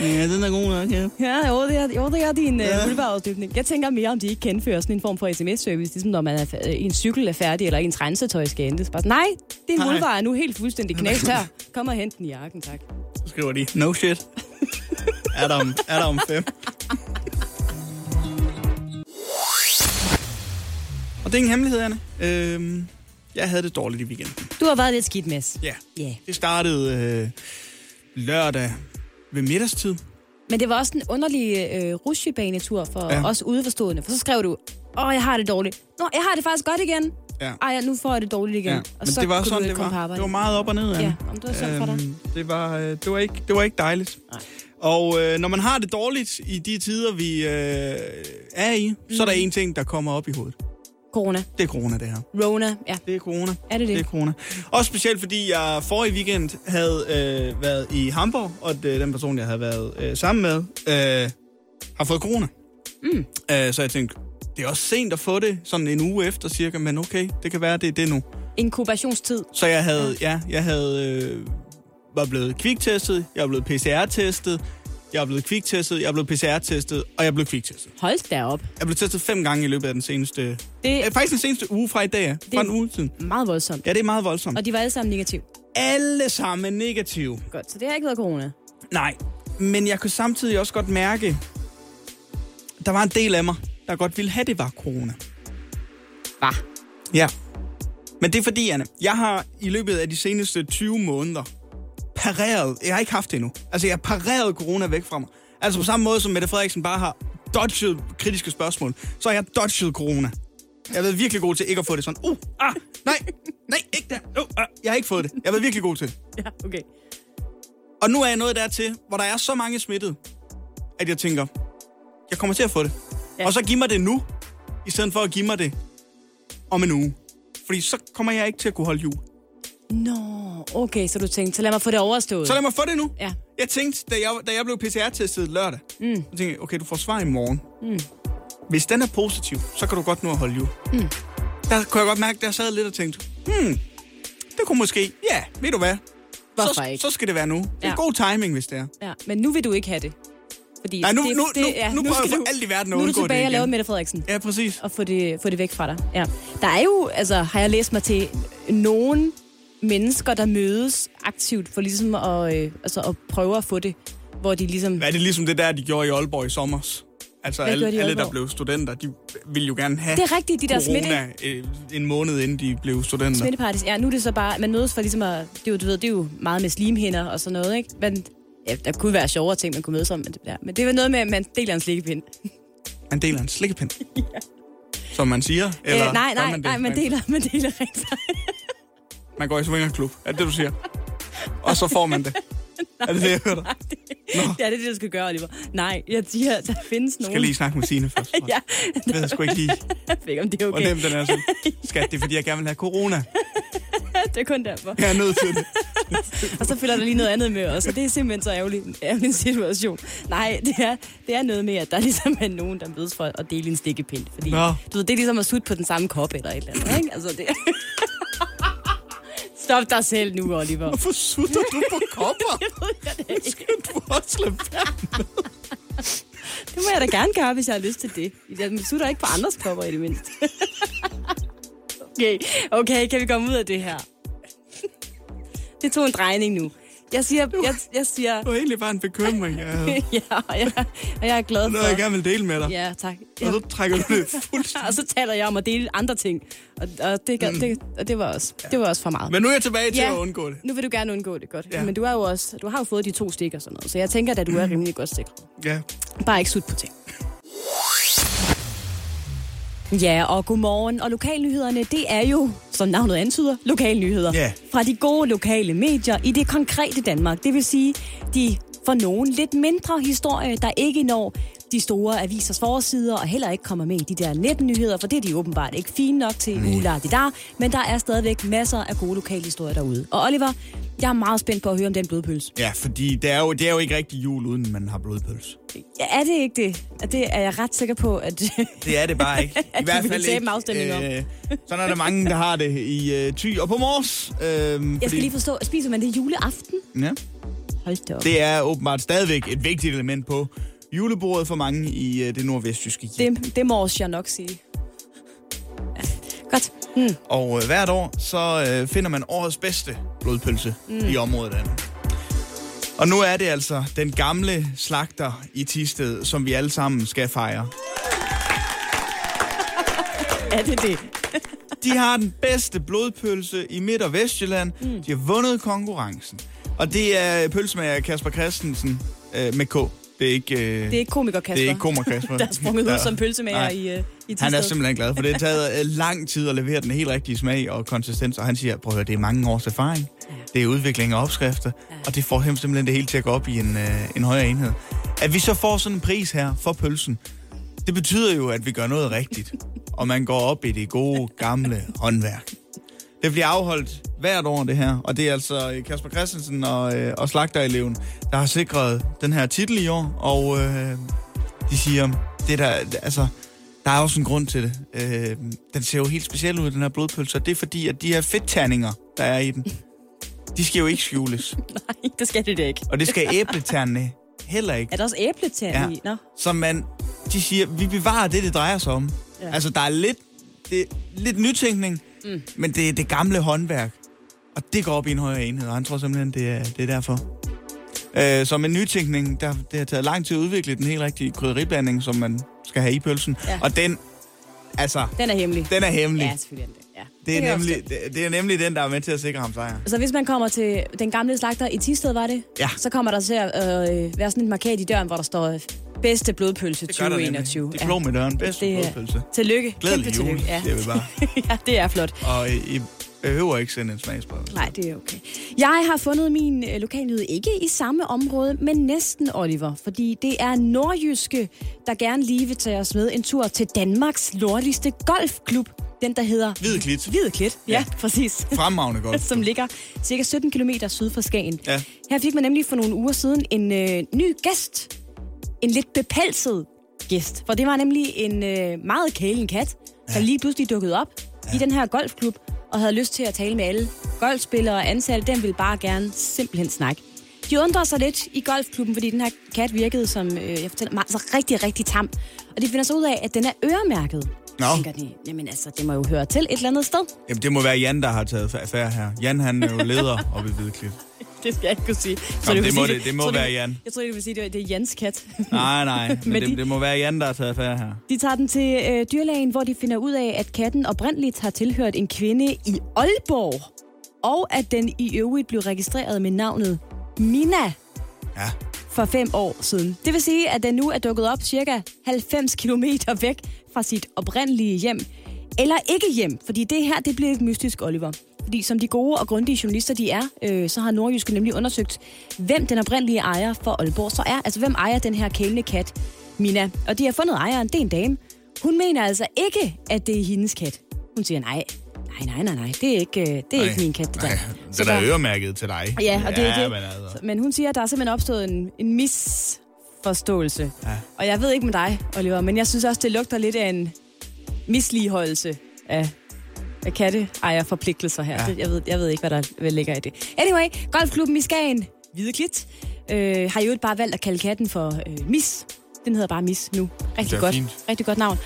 I: ja, den er god nok, ja.
A: Ja, jo, det er, jo, det er din
I: Ja.
A: ja. vulvaafdybning. Jeg tænker mere, om de ikke kan indføre sådan en form for sms-service, ligesom når man er, fa- øh, ens cykel er færdig, eller ens rensetøj skal hentes. Bare, sådan, nej, din
I: Nej.
A: vulva er nu helt fuldstændig knægt her. Kom og hent den i jakken, tak.
I: Så skriver de, no shit. Er der om, er der om fem? Og det er ingen hemmelighed, Anne. Øhm, jeg havde det dårligt i weekenden.
A: Du har været lidt skidt, Mads.
I: Ja.
A: Ja. Yeah.
I: Det startede øh, lørdag ved middagstid.
A: Men det var også en underlig øh, rusjebanetur for
I: Ja.
A: ja. os udeforstående. For så skrev du, åh, jeg har det dårligt. Nå, jeg har det faktisk godt igen.
I: Ja.
A: Ej, nu får jeg det dårligt igen. Ja. Og
I: Men
A: så
I: det var
A: kunne
I: sådan,
A: du ikke
I: det
A: komme på
I: var.
A: arbejde.
I: Det var meget op og ned, Anne.
A: Ja, om det var sådan for dig.
I: det, var, øh, det, var ikke, det var ikke dejligt. Nej. Og øh, når man har det dårligt i de tider, vi øh, er i, mm. så er der en ting, der kommer op i hovedet.
A: Corona.
I: Det er corona, det her.
A: Rona, ja.
I: Det er corona.
A: Er det det?
I: Det er corona. Også specielt, fordi jeg forrige weekend havde øh, været i Hamburg, og det, den person, jeg havde været øh, sammen med, øh, har fået corona. Mm. Øh, så jeg tænkte, det er også sent at få det, sådan en uge efter cirka, men okay, det kan være, det er det nu.
A: Inkubationstid.
I: Så jeg havde, ja, jeg havde, øh, var blevet kviktestet, jeg var blevet PCR-testet, jeg er blevet kviktestet, jeg er blevet PCR-testet, og jeg er blevet kviktestet.
A: Hold da op.
I: Jeg blev testet fem gange i løbet af den seneste...
A: Det-
I: Det, øh, faktisk den seneste uge fra i dag, ja. fra
A: Det-
I: en uge siden.
A: Meget voldsomt.
I: Ja, det er meget voldsomt.
A: Og de var alle sammen negative.
I: alle sammen negative.
A: Godt, så det har ikke været corona.
I: Nej, men jeg kunne samtidig også godt mærke, der var en del af mig, der godt ville have, det var corona.
A: Hva?
I: Ja. Men det er fordi, Anne, jeg har i løbet af de seneste 20 måneder pareret, jeg har ikke haft det endnu, altså jeg har pareret corona væk fra mig. Altså på samme måde som Mette Frederiksen bare har dodget kritiske spørgsmål, så har jeg dodget corona. Jeg har været virkelig god til ikke at få det sådan, uh, ah, nej, nej, ikke der, uh, ah. jeg har ikke fået det. Jeg har været virkelig god til det.
A: Ja, okay.
I: Og nu er jeg nået dertil, hvor der er så mange smittet, at jeg tænker, jeg kommer til at få det. Ja.
A: Ja.
I: Og så giv mig det nu, i stedet for at give mig det om en uge. Fordi så kommer jeg ikke til at kunne holde jul.
A: Nå, okay, så du tænkte, så lad mig få det overstået.
I: Så lad mig få det nu.
A: Ja.
I: Jeg tænkte, da jeg, da jeg blev PCR-testet lørdag, mm. så tænkte jeg, okay, du får svar i morgen. Mm. Hvis den er positiv, så kan du godt nå at holde jul. Mm. Der kunne jeg godt mærke, at jeg sad lidt og tænkte, hmm, det kunne måske, ja, ved du hvad,
A: Hvorfor
I: så,
A: ikke?
I: så skal det være nu. Det er
A: Ja.
I: god timing, hvis det er.
A: Ja, men nu vil du ikke have det. Fordi
I: Nej, nu-
A: det,
I: nu- nu- nu prøver
A: skal
I: jeg for
A: du-
I: alt i verden
A: Nu
I: at
A: er du
I: undgå det
A: tilbage og
I: igen.
A: laver Mette Frederiksen.
I: Ja, præcis.
A: og få det, få det væk fra dig. Ja. Der er jo, altså har jeg læst mig til, nogle mennesker, der mødes aktivt for ligesom at, øh, altså, at prøve at få det, hvor de ligesom...
I: Hvad er det ligesom det der, de gjorde i Aalborg i sommer? Altså
A: Hvad
I: alle,
A: gjorde de i
I: alle, der
A: Aalborg?
I: blev studenter, de ville jo gerne have
A: Det er rigtigt, de der
I: corona øh, en måned inden de blev studenter.
A: Smittepartis. Ja, nu er det så bare, man mødes for ligesom at... Det er jo, du ved, det er jo meget med slimhinder og sådan noget, ikke? Men ja, der kunne være sjovere ting, man kunne mødes om, men det, ja. men det var noget med, at man deler en slikkepind.
I: Man deler en slikkepind. ja. Som man siger. Eller
A: Øh, nej,
I: gør
A: nej, man
I: det?
A: nej, man deler, man deler rent
I: Man går i swingerklub. Er det det, du siger? Og så får man det. er det det, jeg hører dig?
A: Ja, det er det, du skal gøre, Oliver. Nej, jeg siger, der findes nogen...
I: Skal lige snakke med Signe først.
A: ja,
I: Jeg ved sgu ikke lige,
A: jeg ved ikke, om det er
I: hvor
A: okay.
I: nem den er. Så. Skat, det er fordi, jeg gerne vil have corona.
A: Det er kun derfor.
I: Jeg er nødt til det.
A: og så følger der lige noget andet med os, og det er simpelthen så ærgerlig, ærgerlig en situation. Nej, det er, det er noget med, at der ligesom er nogen, der mødes for at dele en stikkepind. Fordi,
I: Nå.
A: du ved, det er ligesom at sutte på den samme kop eller et eller andet, ikke? Altså, det... Stop dig selv nu, Oliver.
I: Hvorfor sutter du på kopper?
A: Det ved jeg da ikke.
I: Skal du også lade være?
A: Det må jeg da gerne gøre, hvis jeg har lyst til det. Jeg sutter ikke på andres kopper i det mindste. okay. okay, kan vi komme ud af det her? Det tog en drejning nu. Jeg siger, jeg, jeg siger,
I: Det var egentlig bare en bekymring, jeg havde.
A: ja, og jeg, og jeg er glad
I: Noget, jeg
A: for.
I: gerne vil dele med dig.
A: Ja, tak.
I: Og
A: Ja.
I: så trækker du det fuldstændig.
A: Og så taler jeg om at dele andre ting. Og, og, det, gad, det, og det, var også, det var også for meget.
I: Mm. Men nu er jeg tilbage til at undgå det.
A: Nu vil du gerne undgå det godt.
I: Ja. Mm.
A: Ja. Men du, er jo også, du har jo fået de to stik og sådan noget, så jeg tænker, at du er rimelig godt sikret.
I: Ja.
A: Bare ikke sut på ting. Ja, og godmorgen. Og lokalnyhederne, det er jo, som navnet antyder, lokalnyheder.
I: Ja.
A: Fra de gode lokale medier i det konkrete Danmark. Det vil sige, de for nogen lidt mindre historie, der ikke når de store avisers forsider, og heller ikke kommer med i de der netnyheder, for det er de åbenbart ikke fine nok til, mm. der, men der er stadigvæk masser af gode lokale historier derude. Og Oliver, jeg er meget spændt på at høre om den blodpølse.
I: Ja, fordi det er, jo, det er jo ikke rigtig jul, uden man har blodpølse.
A: Ja, er det ikke det? Og Det er jeg ret sikker på, at
I: Det er det bare ikke. I
A: vi vil tabe en afstemning om.
I: Øh, sådan er der mange, der har det i øh, Thy og på Mors. Øh,
A: Jeg skal lige forstå, spiser man det juleaften?
I: ja,
A: Hold da op. Det,
I: det er åbenbart stadigvæk et vigtigt element på julebordet for mange i øh, det nordvestjyske. Det.
A: det, det må også jeg nok sige. Ja, Godt. Mm.
I: Og øh, hvert år, så øh, finder man årets bedste blodpølse mm. i området. Anna. Og nu er det altså den gamle slagter i Tisted, som vi alle sammen skal fejre.
A: Er det det?
I: De har den bedste blodpølse i Midt- og Vestjylland. Mm. De har vundet konkurrencen. Og det er pølsemager Kasper Christensen øh, med K. Det er ikke... Øh,
A: Det er ikke komiker Kasper.
I: det er ikke komiker Kasper.
A: Der er sprunget ud
I: Ja.
A: som pølsemager
I: Nej.
A: i, uh, i
I: Han er
A: Thisted.
I: simpelthen glad, for det har taget øh, lang tid at levere den helt rigtige smag og konsistens. Og han siger, prøv at høre, det er mange års erfaring. Det er udvikling og opskrifter. Og det får ham simpelthen det hele til at gå op i en, øh, en højere enhed. At vi så får sådan en pris her for pølsen, det betyder jo, at vi gør noget rigtigt. Og man går op i det gode, gamle håndværk. Det bliver afholdt hvert år, det her. Og det er altså øh, Kasper Christensen og, øh, og Slagtereleven, der har sikret den her titel i år. Og øh, de siger, det der, altså, der er også en grund til det. Øh, den ser jo helt speciel ud, den her blodpølse. Og det er fordi, at de her fedtterninger, der er i den, de skal jo ikke skjules.
A: Nej, det skal det da ikke.
I: Og det skal æbleternene heller ikke.
A: Er der også æbletær ja. i? Nå.
I: Så man, de siger, vi bevarer det, det drejer sig om. Ja.
A: Ja.
I: Altså, der er lidt, det, lidt nytænkning, mm. men det er det gamle håndværk. Og det går op i en højere enhed, og han tror simpelthen, det er, det er derfor. Øh, så med nytænkning, der, det har taget lang tid at udvikle den helt rigtige krydderiblanding, som man skal have i pølsen. Ja.
A: Ja.
I: Og den, altså,
A: Den er hemmelig.
I: den er hemmelig.
A: Ja, selvfølgelig er den det. Ja.
I: Det
A: kan
I: er,
A: jeg
I: nemlig, det, det er nemlig den, der er med til at sikre ham sejr.
A: forstå. Så hvis man kommer til den gamle slagter i Tisted, var det?
I: Ja.
A: Så kommer der til at øh, være sådan et markat i døren, hvor der står øh, bedste blodpølse
I: Det gør der nemlig.
A: 2021.
I: Diplom i døren. Bedste
A: Det er-
I: blodpølse.
A: Tillykke.
I: Glædelig
A: Kæmpe
I: jul,
A: tillykke. Ja.
I: det er vi bare.
A: ja, det er flot.
I: Og I, I behøver ikke sende en smagsprøve.
A: Nej, det er okay. Jeg har fundet min øh, lokalnyhed ikke i samme område, men næsten, Oliver. Fordi det er nordjyske, der gerne lige vil tage os med en tur til Danmarks lortigste golfklub. Den, der hedder...
I: Hvid Klit.
A: Hvide Klit, ja, ja. præcis.
I: Fremragende godt.
A: som ligger cirka 17 km syd for Skagen.
I: Ja.
A: Her fik man nemlig for nogle uger siden en øh, ny gæst. En lidt bepelset gæst. For det var nemlig en øh, meget kælen kat, der lige pludselig dukkede op ja. i den her golfklub og havde lyst til at tale med alle golfspillere og ansatte. Den ville bare gerne simpelthen snakke. De undrer sig lidt i golfklubben, fordi den her kat virkede som, øh, jeg fortæller mig, altså rigtig, rigtig tam. Og de finder så ud af, at den er øremærket.
I: Nå.
A: Tænker de, jamen altså, det må jo høre til et eller andet sted.
I: Jamen, det må være Jan, der har taget affære her. Jan, han er jo leder oppe i Hvide Klit.
A: Det skal jeg ikke kunne sige. Så
I: Nå,
A: vil
I: det må
A: sige,
I: det- det må
A: tror,
I: være Jan.
A: Jeg tror, det vil sige, det er, det er Jans kat.
I: Nej, nej. Men,
A: Men
I: det,
A: de-
I: det må være Jan, der har taget affære her.
A: De tager den til øh, dyrlægen, hvor de finder ud af, at katten oprindeligt har tilhørt en kvinde i Aalborg, og at den i øvrigt blev registreret med navnet Mina
I: Ja.
A: for fem år siden. Det vil sige, at den nu er dukket op cirka 90 km væk fra sit oprindelige hjem. Eller ikke hjem, fordi det her det bliver lidt mystisk, Oliver. Fordi som de gode og grundige journalister de er, øh, så har Nordjyske nemlig undersøgt, hvem den oprindelige ejer for Aalborg så er. Altså hvem ejer den her kælende kat, Mina. Og de har fundet ejeren, det er en dame. Hun mener altså ikke, at det er hendes kat. Hun siger nej. Nej, nej, nej, nej. Det er ikke, øh, det er
J: Nej,
A: ikke min kat, det der.
J: nej.
A: Så
J: Den er
A: der-
J: øremærket til dig.
A: Ja, og det er
J: ja,
A: det.
J: Men altså.
A: Men hun siger, at der er simpelthen opstået en, en misforståelse. Ja. Og jeg ved ikke med dig, Oliver, men jeg synes også, det lugter lidt af en misligeholdelse af, af katteejerforpligtelser her. Ja. Jeg, ved, jeg ved ikke, hvad der vel ligger i det. Anyway, golfklubben i Skagen, Hvide Klit, øh, har jo bare valgt at kalde katten for øh, Mis. Den hedder bare Mis nu. Rigtig
J: er
A: godt.
J: fint.
A: Rigtig godt navn.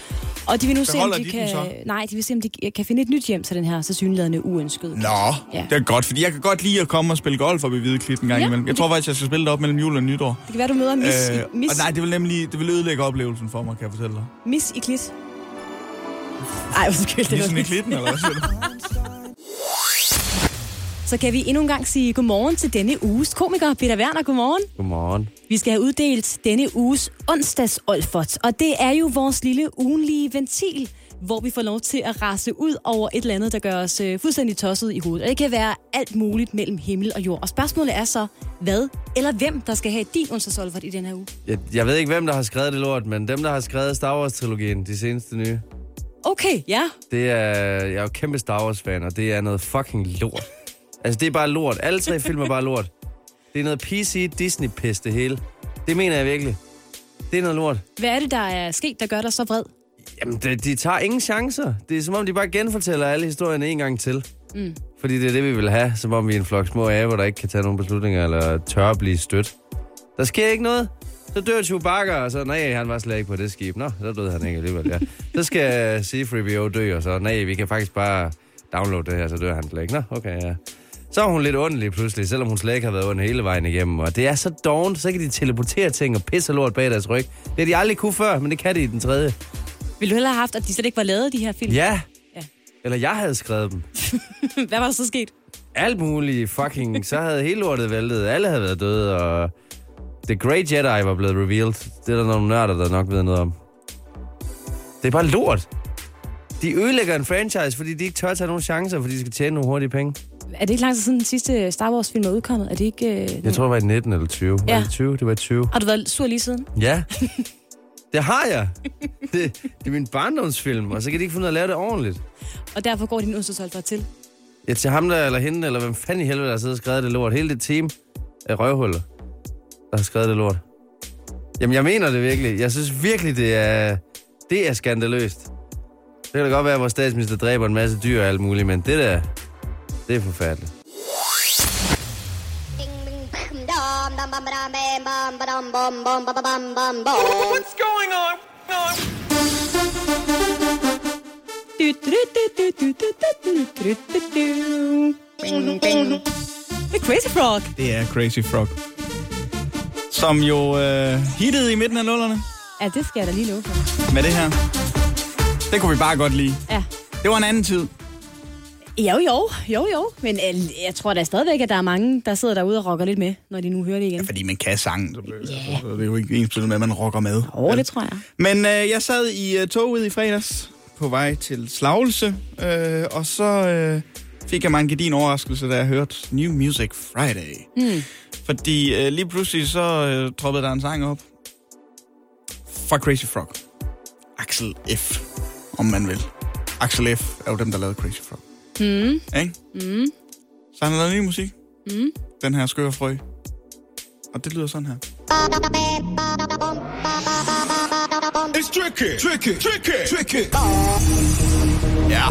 A: Og de vil nu se, om
J: Beholder
A: de,
J: de den
A: kan,
J: så?
A: nej, de vil se, om de kan finde et nyt hjem til den her så synlædende uønskede.
J: Nå,
A: Ja.
I: Det er godt, fordi jeg kan godt lide at komme og spille golf op i Hvide Klit en gang
A: Ja,
I: ja, imellem. Jeg
A: det-
I: tror faktisk, jeg skal spille det op mellem jul og nytår.
A: Det kan være, du møder Mis, øh,
I: og
A: mis,
I: nej, det vil nemlig det vil ødelægge oplevelsen for mig, kan jeg fortælle dig.
A: Mis i klit. Ej, undskyld. Det
I: Ligesom
A: var
I: i klitten, eller hvad siger du?
A: Så kan vi endnu en gang sige godmorgen til denne uges komiker, Peter Werner. Godmorgen.
C: Godmorgen.
A: Vi skal have uddelt denne uges onsdags Olfert, og det er jo vores lille ugenlige ventil, hvor vi får lov til at rase ud over et eller andet, der gør os øh, fuldstændig tosset i hovedet. Og det kan være alt muligt mellem himmel og jord. Og spørgsmålet er så, hvad eller hvem, der skal have din onsdags Olfert i den her uge?
C: Jeg, jeg ved ikke, hvem der har skrevet det lort, men dem, der har skrevet Star Wars-trilogien, de seneste nye,
A: Okay, ja.
C: det er... Jeg er jo kæmpe Star Wars-fan, og det er noget fucking lort. Altså, det er bare lort. Alle tre film er bare lort. Det er noget PC Disney-pis, det hele. Det mener jeg virkelig. Det er noget lort.
A: Hvad er det, der er sket, der gør dig så vred?
C: Jamen, de, de tager ingen chancer. Det er som om, de bare genfortæller alle historierne en gang til. Mm. Fordi det er det, vi vil have. Som om vi er en flok små aber, der ikke kan tage nogen beslutninger, eller tør at blive stødt. Der sker ikke noget. Så dør Chewbacca, og så, nej, han var slet ikke på det skib. Nå, så døde han ikke alligevel, ja. Så skal C-3PO dø, og så, nej, vi kan faktisk bare downloade det her, så dør han slet ikke. Nå, okay, ja. Så er hun lidt ond lige pludselig, selvom hun slet ikke har været ond hele vejen igennem. Og det er så dovent, så kan de teleportere ting og pisse lort bag deres ryg. Det har de aldrig kunne før, men det kan de i den tredje.
A: Ville du hellere have haft, at de slet ikke var lavet, de her film?
C: Ja.
A: Ja.
C: ja. Eller jeg havde skrevet dem.
A: Hvad var der så sket?
C: Alt muligt fucking... Så havde hele lortet væltet. Alle havde været døde, og... The Great Jedi var blevet revealed. Det er der nogle nørder, der nok ved noget om. Det er bare lort. De ødelægger en franchise, fordi de ikke tør tage nogen chancer, fordi de skal tjene nogle hurtige penge.
A: Er det ikke lang tid siden den sidste Star Wars-film er udkommet? Er det ikke... Øh...
C: Jeg tror, det var i 19 eller 20. Ja.
A: Ja.
C: Var det 20? Det var i 20.
A: Har du været sur lige siden?
C: Ja. Det har jeg. Det, det er min barndomsfilm, og så kan de ikke finde ud af at lave det ordentligt.
A: Og derfor går din onsdagsolfer til.
C: Ja, til ham der, eller hende, eller hvem fanden i helvede, der har siddet og skrevet det lort. Hele det team af røvhuller, der har skrevet det lort. Jamen, jeg mener det virkelig. Jeg synes virkelig, det er, det er skandaløst. Det kan da godt være, at vores statsminister dræber en masse dyr og alt muligt, men det der, det er forfærdeligt.
A: Det er Crazy Frog.
I: Det er Crazy Frog. Som jo øh, hittede i midten af nullerne
A: Ja, det skal jeg da lige love for.
I: med det her. Det kunne vi bare godt lide.
A: Ja.
I: Det var en anden tid.
A: Jo, jo, jo, jo. Men øh, jeg tror da stadigvæk, at der er mange, der sidder derude og rocker lidt med, når de nu hører det igen.
I: Fordi man kan sangen. Så det, yeah. så det er jo ikke ens med, at man rocker med.
A: Åh, oh, det tror jeg.
I: Men øh, jeg sad i øh, toget i fredags på vej til Slagelse, øh, og så øh, fik jeg mig en gedin overraskelse, da jeg hørte New Music Friday.
A: Mm.
I: Fordi øh, lige pludselig så øh, troppede der en sang op fra Crazy Frog. Axel F, om man vil. Axel F er jo dem, der lavede Crazy Frog.
A: Mm.
I: Ikke?
A: Mm.
I: Så han har lavet ny musik.
A: Mm.
I: Den her skøre frø. Og det lyder sådan her.
J: It's tricky, tricky, tricky, tricky.
I: Ja.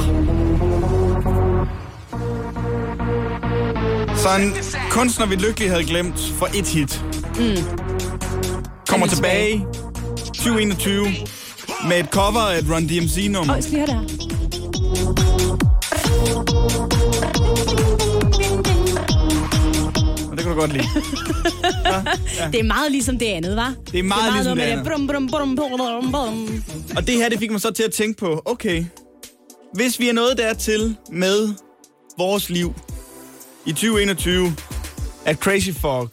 I: Så en kunstner, vi lykkelig havde glemt for et hit, mm. kommer
A: Er vi tilbage?
I: tilbage 2021 med et cover af et Run DMC-nummer.
A: Åh, jeg skal lige høre det her.
I: Og det kan du godt lide.
A: Det er meget ligesom det andet, var.
I: Det er meget ligesom det andet.
A: Brum, brum, brum, brum, brum, brum.
I: Og det her, det fik mig så til at tænke på, okay, hvis vi er nået dertil med vores liv i 2021, at Crazy Frog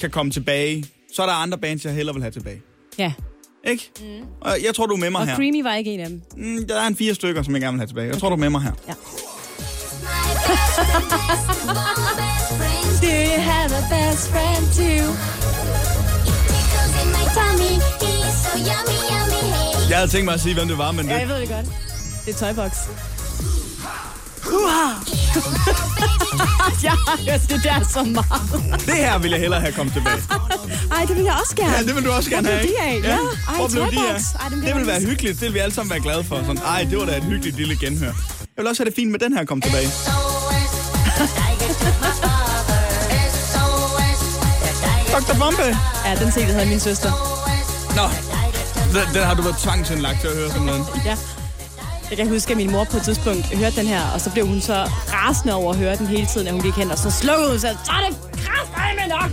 I: kan komme tilbage, så er der andre bands, jeg hellere vil have tilbage.
A: Ja.
I: Ikke? Mm. Og jeg tror, du er med mig
A: Og
I: her.
A: Creamy var ikke en af dem.
I: Mm, der er en fire stykker, som jeg gerne vil have tilbage. Jeg tror, du er med mig her.
A: Do you have a best friend too?
I: Jeg havde tænkt mig at sige, hvem det var, men
A: Ja, jeg
I: det...
A: ved det godt. Det er Toybox. Jeg har hørt det der så meget.
I: Det her vil jeg hellere have kommet tilbage.
A: Ej, det vil jeg også gerne.
I: Ja, det vil du også gerne
A: Hvor
I: have,
A: blev
I: ikke?
A: de af? Ja. Ej,
I: Hvor blev de af?
A: Toybox. Ej, dem bliver
I: Det vil
A: jeg
I: være
A: vist.
I: hyggeligt. Det vil vi alle sammen være glade for. Sådan, ej, det var da et hyggeligt lille genhør. Jeg vil også have det fint med den her kom tilbage. Dr. Bombe!
A: Ja, den ting, havde min søster.
I: Nå, den, den har du været tvangsindlagt til at høre simpelthen.
A: Ja. Jeg kan huske, at min mor på et tidspunkt hørte den her, og så blev hun så rasende over at høre den hele tiden, at hun gik hen, og så slukkede hun sig. Så er det kraftedeme nok!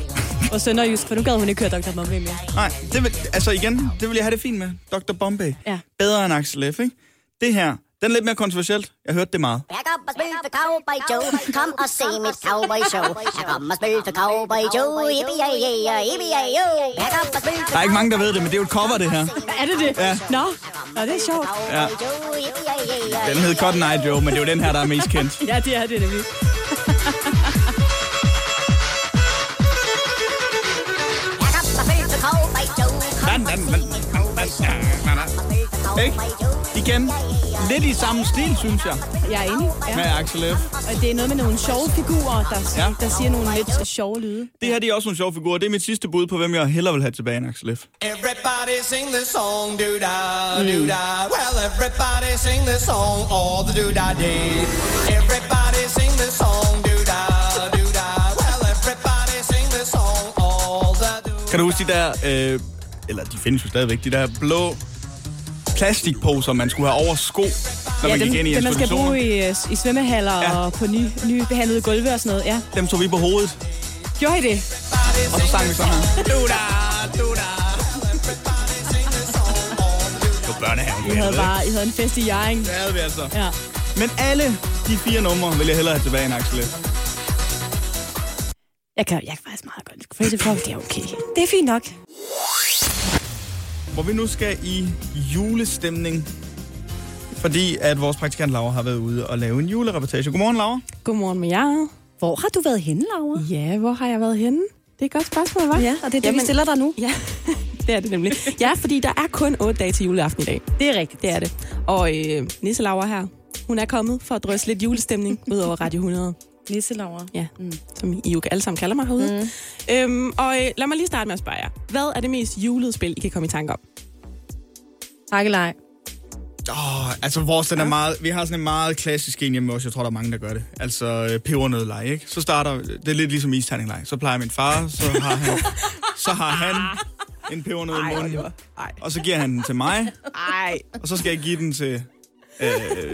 A: Og sønderjysk, for nu gad hun ikke høre Dr. Mumble mere.
I: Nej, det vil, altså igen, det vil jeg have det fint med. Dr. Bombay.
A: Ja.
I: Bedre end Axel F, ikke? Det her, den er lidt mere kontroversielt. Jeg hørte det meget.
K: Back up and smooth the cowboy Joe. Come and see me cowboy show. I come and smooth the cowboy Joe. Yippee-yay-yay, yippee-yay-yo. Back up and smooth the
I: Der er ikke mange, der ved det, men det er jo et cover, det her.
A: Er det det?
I: Ja.
A: Nå, Nå det er sjovt.
I: Ja. Den hed Cotton Eye Joe, men det er jo den her, der er mest kendt.
A: Ja, det er det nemlig.
I: Ikke? Igen, lidt i samme stil, synes jeg,
A: Jeg er enig. Ja.
I: med Axel F.
A: Og det er noget med nogle sjove figurer, der,
I: Ja.
A: ja. der siger nogle lidt sjove lyde.
I: Det her det er også nogle sjove figurer. Det er mit sidste bud på, hvem jeg hellere vil have tilbage end Axel F.
J: Everybody sing the song, do da, do da. Well, everybody sing the song, all the do da day. Everybody sing the song, do da, do da. Well, everybody sing the song, all the do.
I: Kan du huske de der, øh, eller de findes jo stadigvæk, de der blå plastikposer, man skulle have over sko, når man gik ind i
A: den man skal
I: institutioner?
A: bruge i, øh, i svømmehaller
I: Ja.
A: ja. og på ny, nybehandlede gulve og sådan noget. Ja.
I: Dem tog vi på hovedet,
A: Gjorde I det?
I: og så sang vi sådan her. Du da, du da. Det var børnehaven.
A: I havde bare I havde en fest i Jaring.
I: Det havde vi altså.
A: Ja.
I: Men alle de fire numre vil jeg hellere have tilbage end Axel F.
A: Jeg kan, jeg kan faktisk meget godt. Crazy Frog, det er okay. Det er fint nok.
I: Hvor vi nu skal i julestemning. Fordi at vores praktikant Laura har været ude og lave en julereportage. Godmorgen, Laura.
L: Godmorgen med jer.
A: Hvor har du været henne, Laura?
L: Ja, hvor har jeg været henne? Det er et godt spørgsmål,
A: Ja,
L: hva'?
A: og det er det, Jamen. vi
L: Jamen-
A: stiller dig nu.
L: ja. det er det nemlig. Ja, fordi der er kun otte dage til juleaften i dag.
A: Det er rigtigt.
L: Det er det. Og øh, Nisse Laura her, hun er kommet for at drysse lidt julestemning ud over Radio 100.
A: Nisse, Laura.
L: Ja, mm. som I jo alle sammen kalder mig herude. Mm. Øhm, og øh, lad mig lige starte med at spørge jer. Hvad er det mest julede spil, I kan komme i tanke om?
A: Takkelej.
I: Åh, oh, altså vores, den er meget, vi har sådan en meget klassisk en hjemme også. Jeg tror, der er mange, der gør det. Altså øh, pebernødleje, ikke? Så starter, det er lidt ligesom isterningleje. Så plejer min far, så har han, så har han en pebernød i munden.
L: Ej,
I: Og så giver han den til mig,
L: ej.
I: og så skal jeg give den til øh,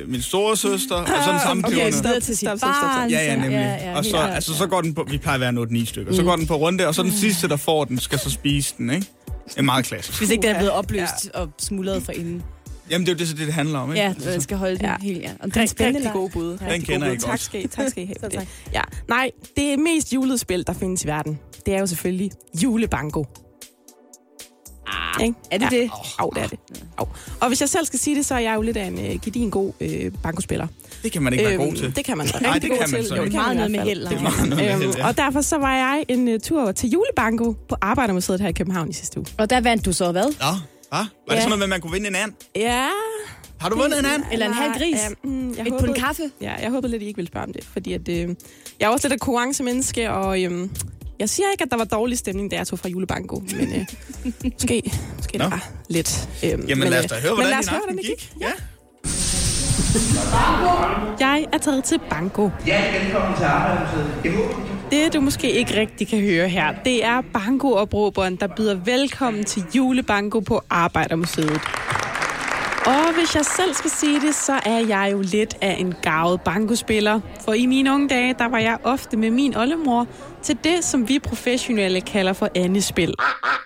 I: min store søster, og så den samme
L: Okay,
I: pebernød.
L: stop.
A: Videre til sit
L: stop, stop, stop.
A: barn.
I: Ja, ja, nemlig.
A: Ja, ja,
I: og så,
A: helt klart.
I: altså, så går den på, vi plejer at være en 8-9 stykker, så går den på runde, og så den sidste, der får den, skal så spise den, ikke? Det er meget klassisk.
A: Hvis ikke den er blevet opløst ja. og smuldret fra inden.
I: Jamen, det er jo det, så det, det handler om, ikke? Altså,
A: Ja, man skal holde den
L: Ja.
A: helt. Ja. Og det er spændende.
L: Rigtig
A: leg.
L: gode bud. Rigtig gode
I: kender
L: bud.
I: I godt.
L: Tak skal I, tak skal I have. for
A: tak.
L: det. Ja. Nej, det mest julede spil, der findes i verden, det er jo selvfølgelig julebanko. Ah,
A: er det det?
L: Au, det er det. Au. Og hvis jeg selv skal sige det, så er jeg jo lidt af en uh, gedin god øh, bankospiller. Øhm,
I: Det kan man ikke være god til.
L: det kan man så.
I: Nej,
L: Rigtig
I: det
L: god
I: kan man
L: til.
I: så
L: Jo,
I: ikke.
L: det kan
A: Meget
L: man
A: noget
L: i
A: med
L: hvert fald.
A: held, Laura.
I: meget noget med held,
L: Øhm,
I: ja.
L: og derfor så var jeg en uh, tur til julebanko på Arbejdermuseet her i København i sidste uge.
A: Og der vandt du så hvad?
I: Nå, hva? Var det
L: Ja.
I: sådan noget, med, at man kunne vinde en and?
L: Ja.
I: Har du vundet en and?
A: Eller en halv gris?
L: Ja, mm, jeg
A: Et
L: håbede-
A: på en kaffe?
L: Ja, jeg håbede lidt, I ikke ville spørge om det, fordi at, øh, jeg er også lidt af konkurrencemenneske, og øh, jeg siger ikke, at der var dårlig stemning, da jeg tog fra julebanko, men øh, måske, måske
I: Nå.
L: der var lidt. Øh,
I: Jamen, lad os da høre,
L: men lad
I: hvordan
L: os
I: din
L: høre,
I: aften
L: hvordan det
I: gik. Ja.
L: Jeg er taget til banko. Det, du måske ikke rigtig kan høre her, det er bankoopråberen, der byder velkommen til julebanko på Arbejdermuseet. Og hvis jeg selv skal sige det, så er jeg jo lidt af en gavet bankospiller. For i mine unge dage, der var jeg ofte med min oldemor til det, som vi professionelle kalder for andespil.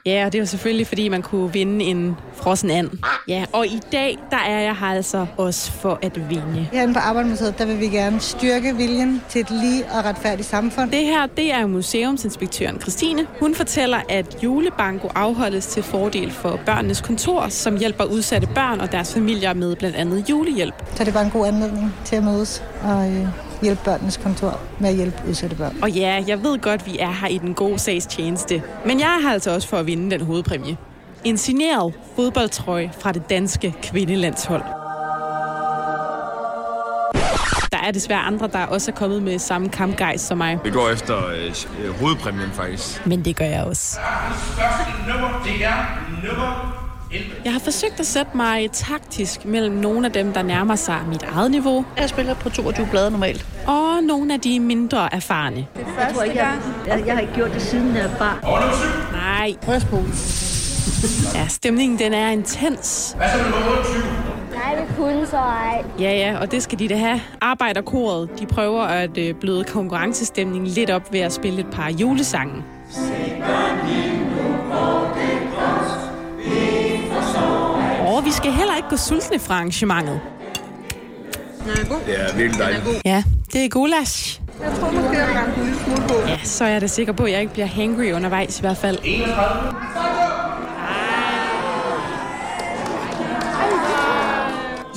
L: Ja, og det var selvfølgelig, fordi man kunne vinde en frossen and. Ja, og i dag, der er jeg her altså også for at vinde.
K: Herinde på Arbejdermuseet, der vil vi gerne styrke viljen til et lige og retfærdigt samfund.
L: Det her, det er museumsinspektøren Christine. Hun fortæller, at julebanko afholdes til fordel for børnenes kontor, som hjælper udsatte børn og deres familier med blandt andet julehjælp.
K: Så det er bare en god anledning til at mødes og øh, hjælpe børnenes kontor med at hjælpe udsatte børn.
L: Og ja, jeg ved godt, vi er her i den gode sags tjeneste. Men jeg er her altså også for at vinde den hovedpræmie. En signeret fodboldtrøje fra det danske kvindelandshold. Der er desværre andre, der også er kommet med samme kampgejst som mig.
M: Vi går efter øh, hovedpræmien, faktisk.
L: Men det gør jeg også. Jeg har forsøgt at sætte mig taktisk mellem nogle af dem, der nærmer sig mit eget niveau. Jeg spiller på 22 blade normalt. Og nogle af de mindre erfarne.
N: Jeg tror ikke, jeg, jeg, jeg har ikke gjort det siden jeg var barn.
L: Nej. Ja, stemningen den er intens.
N: Hvad så med nummer 28? Nej, det kunne så ej.
L: Ja, ja, og det skal de da have. Arbejderkoret, de prøver at øh, bløde konkurrencestemningen lidt op ved at spille et par julesange. Og vi skal heller ikke gå sultne fra arrangementet.
M: Det er virkelig dejligt.
L: Ja, det er gulasch.
M: Jeg tror måske, jeg har en lille smule på.
L: Ja, så er jeg da sikker på, at jeg ikke bliver hangry undervejs i hvert fald.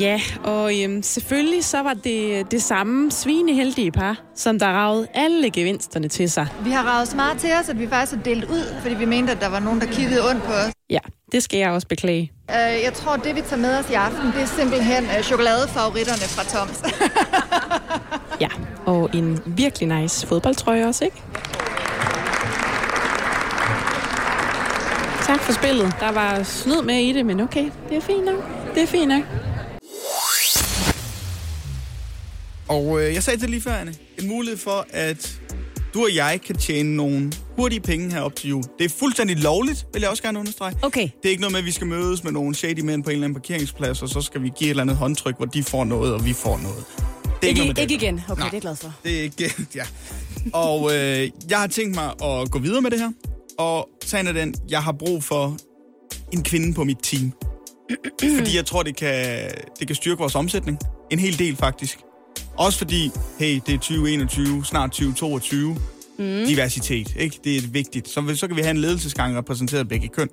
L: Ja, og øhm, selvfølgelig så var det det samme svineheldige par, som der ragede alle gevinsterne til sig.
O: Vi har ravet smart til os, at vi faktisk har delt ud, fordi vi mente, at der var nogen, der kiggede ondt på os.
L: Ja, det skal jeg også beklage.
O: Øh, Jeg tror, det vi tager med os i aften, det er simpelthen øh, chokoladefavoritterne fra Toms.
L: Ja, og en virkelig nice fodboldtrøje også, ikke? Tak for spillet. Der var snyd med i det, men okay, det er fint nok. Det er fint nok.
I: Og øh, jeg sagde det lige før, Anne. En mulighed for, at du og jeg kan tjene nogle hurtige penge her op til jul. Det er fuldstændig lovligt, vil jeg også gerne understrege.
A: Okay.
I: Det er ikke noget med, at vi skal mødes med nogle shady mænd på en eller anden parkeringsplads, og så skal vi give et eller andet håndtryk, hvor de får noget, og vi får noget. Det er
A: Ikke,
I: noget med
A: ikke,
I: det.
A: ikke igen. Okay, Nej. det
I: Nej.
A: er jeg glad for.
I: Det er ikke... Ja. Og øh, jeg har tænkt mig at gå videre med det her. Og sagen er den, jeg har brug for en kvinde på mit team. fordi jeg tror, det kan, det kan styrke vores omsætning. En hel del, faktisk. Også fordi, hey, det er 2021, snart 2022. Mm. Diversitet, ikke? Det er vigtigt. Så, så kan vi have en ledelsesgang repræsenteret begge køn.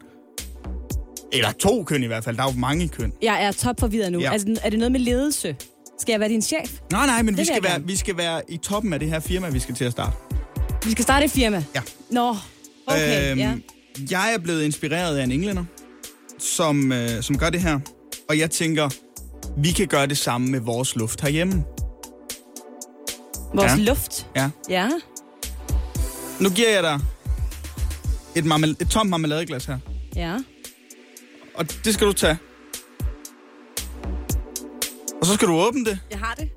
I: Eller to køn i hvert fald. Der er jo mange køn.
A: Jeg er topforvirret nu. Ja.
I: Ja.
A: Altså, er det noget med ledelse? Skal jeg være din chef?
I: Nej, nej, men
A: Det
I: vi
A: vil
I: skal,
A: jeg
I: være,
A: gerne.
I: vi skal være i toppen af det her firma, vi skal til at starte.
A: Vi skal starte et firma?
I: Ja.
A: Nå, okay, øhm, ja.
I: Jeg er blevet inspireret af en englænder, som, øh, som gør det her. Og jeg tænker, vi kan gøre det samme med vores luft herhjemme.
A: Vores
I: ja.
A: luft?
I: Ja.
A: Ja.
I: Nu giver jeg dig et, marmel- et tomt marmeladeglas her.
A: Ja.
I: Og det skal du tage. Og så skal du åbne det.
A: Jeg har det.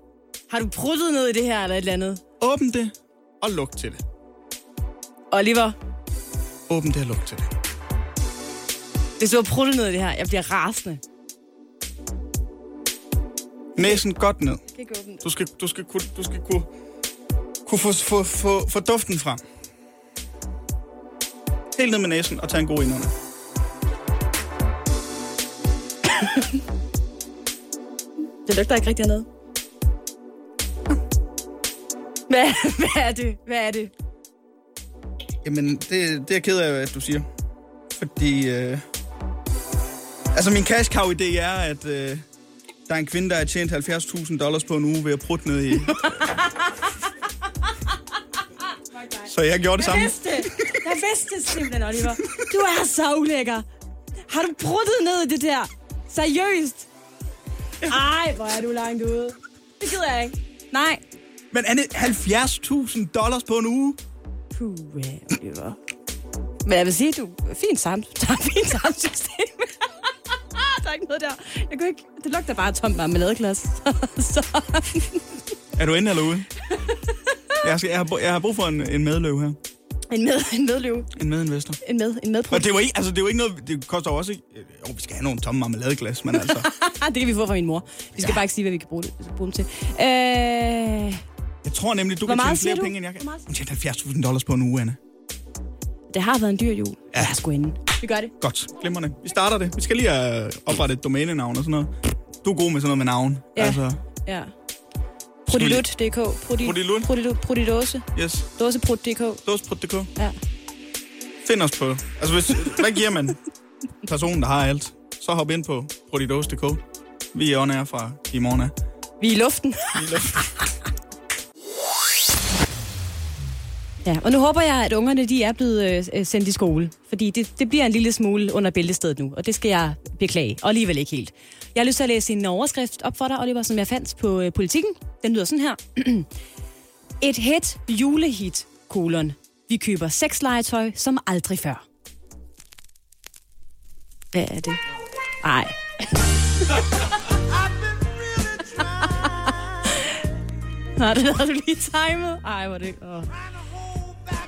A: Har du pruttet noget i det her eller et eller andet?
I: Åbn det og luk til det.
A: Oliver,
I: Åbn det og luk til det.
A: hvis du har pruttet noget i det her, jeg bliver rasende.
I: Næsen godt ned.
A: Jeg kan ikke åbne det.
I: Du skal, du skal, kunne, du skal kunne, kunne få, få, få, få duften frem. Helt ned med næsen og tage en god indånding.
A: Det lugter ikke rigtig af noget. Hvad, hvad er det? Hvad er det?
I: Jamen, det, det er jeg ked af, at du siger. Fordi... Øh... Altså, min cash cow idé er, at øh, der er en kvinde, der har tjent 70.000 dollars på en uge ved at prutte ned i. Så jeg gjorde det
A: Jeg
I: samme.
A: vidste det. Jeg vidste det simpelthen, Oliver. Du er så ulækker. Har du pruttet ned i det der? Seriøst? Ej, hvor er du langt ude. Det gider jeg ikke. Nej.
I: Men Anne, 70.000 dollars på en uge?
A: Puh, Oliver. Men jeg vil sige, du er fint sammen. Du har fint samsystem. der er ikke noget der. Jeg kunne ikke... Det lugter bare af tomt marmeladeglas. så...
I: Er du inde eller ude? Jeg, skal, jeg, har, brug- jeg har brug for en, en medløv her.
A: En, med, en medløv.
I: En medinvestor.
A: En med, en medprut.
I: Og det var ikke, altså, det var ikke noget... Det koster jo også ikke... Jo, vi skal have nogle tomme marmeladeglas, men altså...
A: det kan vi få fra min mor. Vi skal ja. bare ikke sige, hvad vi kan bruge, det, bruge dem til. Øh,
I: Jeg tror nemlig, du
A: Hvor
I: kan
A: meget
I: tjene
A: siger
I: flere
A: du?
I: penge, end jeg kan. Hun tjente 70.000 dollars på en uge, Anne.
A: det har været en dyr jul. Ja. Jeg er sgu inde. Vi gør det.
I: Godt, glimrende. Vi starter det. Vi skal lige øh, oprette et domænenavn og sådan noget. Du er god med sådan noget med navn.
A: Ja.
I: Altså,
A: Ja. Prodilut.dk.
I: Prodilut?
A: Prodilut. Prodidose.
I: yes,
A: Dåseprut.dk.
I: dåsprut.dk.
A: Ja.
I: Find os på. Altså, hvis, hvad giver man personen, der har alt? Så hop ind på prodidos.dk. Vi er on air fra i morgen af.
A: Vi er i luften.
I: Vi er i luften.
A: Ja, og nu håber jeg, at ungerne de er blevet øh, øh, sendt i skole, fordi det, det bliver en lille smule under bæltestedet nu, og det skal jeg beklage, og alligevel ikke helt. Jeg har lyst til at læse en overskrift op for dig, Oliver, som jeg fandt på øh, Politiken. Den lyder sådan her. Et hit julehit, kolon. Vi køber sexlegetøj som aldrig før. Hvad er det? Nej. Nå, det havde du lige timet. Ej, hvor er det... Åh.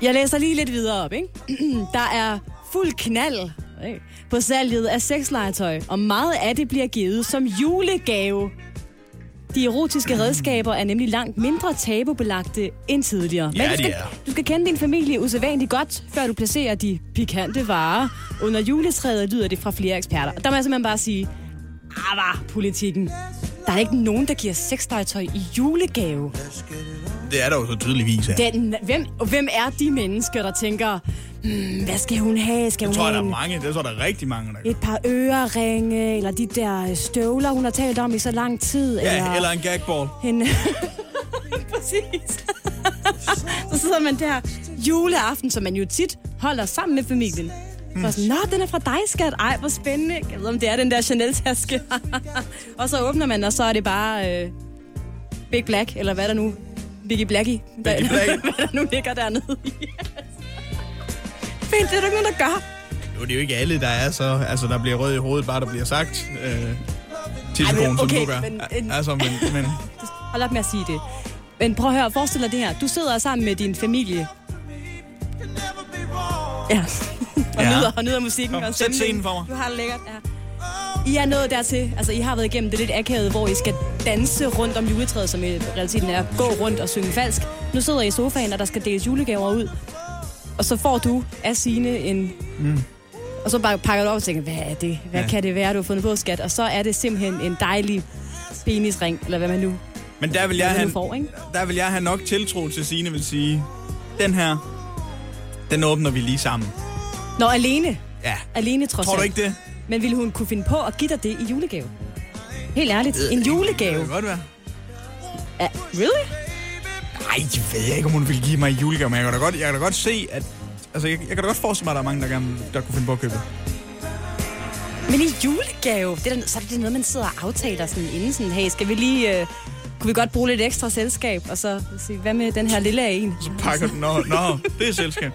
A: Jeg læser lige lidt videre op, ikke? Der er fuld knald øh, på salget af sexlegetøj, og meget af det bliver givet som julegave. De erotiske redskaber er nemlig langt mindre tabubelagte end tidligere.
J: Ja,
A: du
J: de
A: skal,
J: er.
A: du skal kende din familie usædvanligt godt, før du placerer de pikante varer. Under juletræet lyder det fra flere eksperter. Og der må jeg simpelthen bare sige, ah, var politikken. Der er ikke nogen, der giver sexlegetøj i julegave.
I: Det er der jo så tydeligvis her.
A: Den, hvem, og hvem er de mennesker, der tænker, hmm, hvad skal hun have? Skal
I: Det
A: hun
I: tror jeg,
A: have
I: der er
A: en-
I: mange. Det tror jeg, der er rigtig mange, der
A: et par øreringe, eller de der støvler, hun har talt om i så lang tid?
I: Ja, eller en gagball.
A: En... Præcis. så sidder man der juleaften, som man jo tit holder sammen med familien. Mm. Sådan, Nå, den er fra dig, skat. Ej, hvor spændende. Jeg ved, om det er den der Chanel-taske. og så åbner man, og så er det bare øh, Big Black, eller hvad der nu... Biggie Blackie. Biggie Black. hvad der nu ligger dernede. yes. Fint, det er der ikke nogen, der gør.
I: Nu er det jo ikke alle, der er så... Altså, der bliver rød i hovedet, bare der bliver sagt. Øh,
A: Ej,
I: Tissekonen,
A: men
I: som
A: okay,
I: du gør.
A: men-
I: Men, altså, men, men
A: Hold op med at sige det. Men prøv at høre, forestil dig det her. Du sidder sammen med din familie. Ja. og, ja.
I: Ja.
A: Nyder, og nyder musikken.
I: Kom,
A: og
I: sæt
A: stemningen.
I: scenen for mig.
A: Du har det lækkert, ja. I er nået dertil, altså I har været igennem det lidt akavede, hvor I skal danse rundt om juletræet, som i realiteten er gå rundt og synge falsk. Nu sidder I i sofaen, og der skal deles julegaver ud. Og så får du af sine en
J: Mm.
A: og så bare pakker du op og tænker, hvad er det? Hvad ja.
I: Ja.
A: kan det være, du har fundet på, skat? Og så er det simpelthen en dejlig penisring, eller hvad man nu
I: men der vil jeg
A: Hvad
I: have...
A: du får, ikke?
I: Der vil jeg have nok tiltro til Signe vil sige, den her, den åbner vi lige sammen.
A: Nå, alene.
I: Ja.
A: Alene trods
I: Tror du
A: alt.
I: ikke det?
A: Men ville hun kunne finde på at give dig det i julegave? Helt ærligt, en julegave. Det
I: kan godt være.
A: Ja, really?
I: Nej, jeg ved ikke, om hun vil give mig i julegave, men jeg kan da godt, jeg kan da godt se, at... Altså, jeg, jeg kan da godt forestille mig, at der er mange, der, gerne, der kunne finde på at købe det.
A: Men i julegave, det er da, så er det noget, man sidder og aftaler sådan inden sådan, hey, skal vi lige... Øh, kunne vi godt bruge lidt ekstra selskab? Og så sige, hvad med den her lille af en?
I: Pakker den. Nå, nå, det er selskab.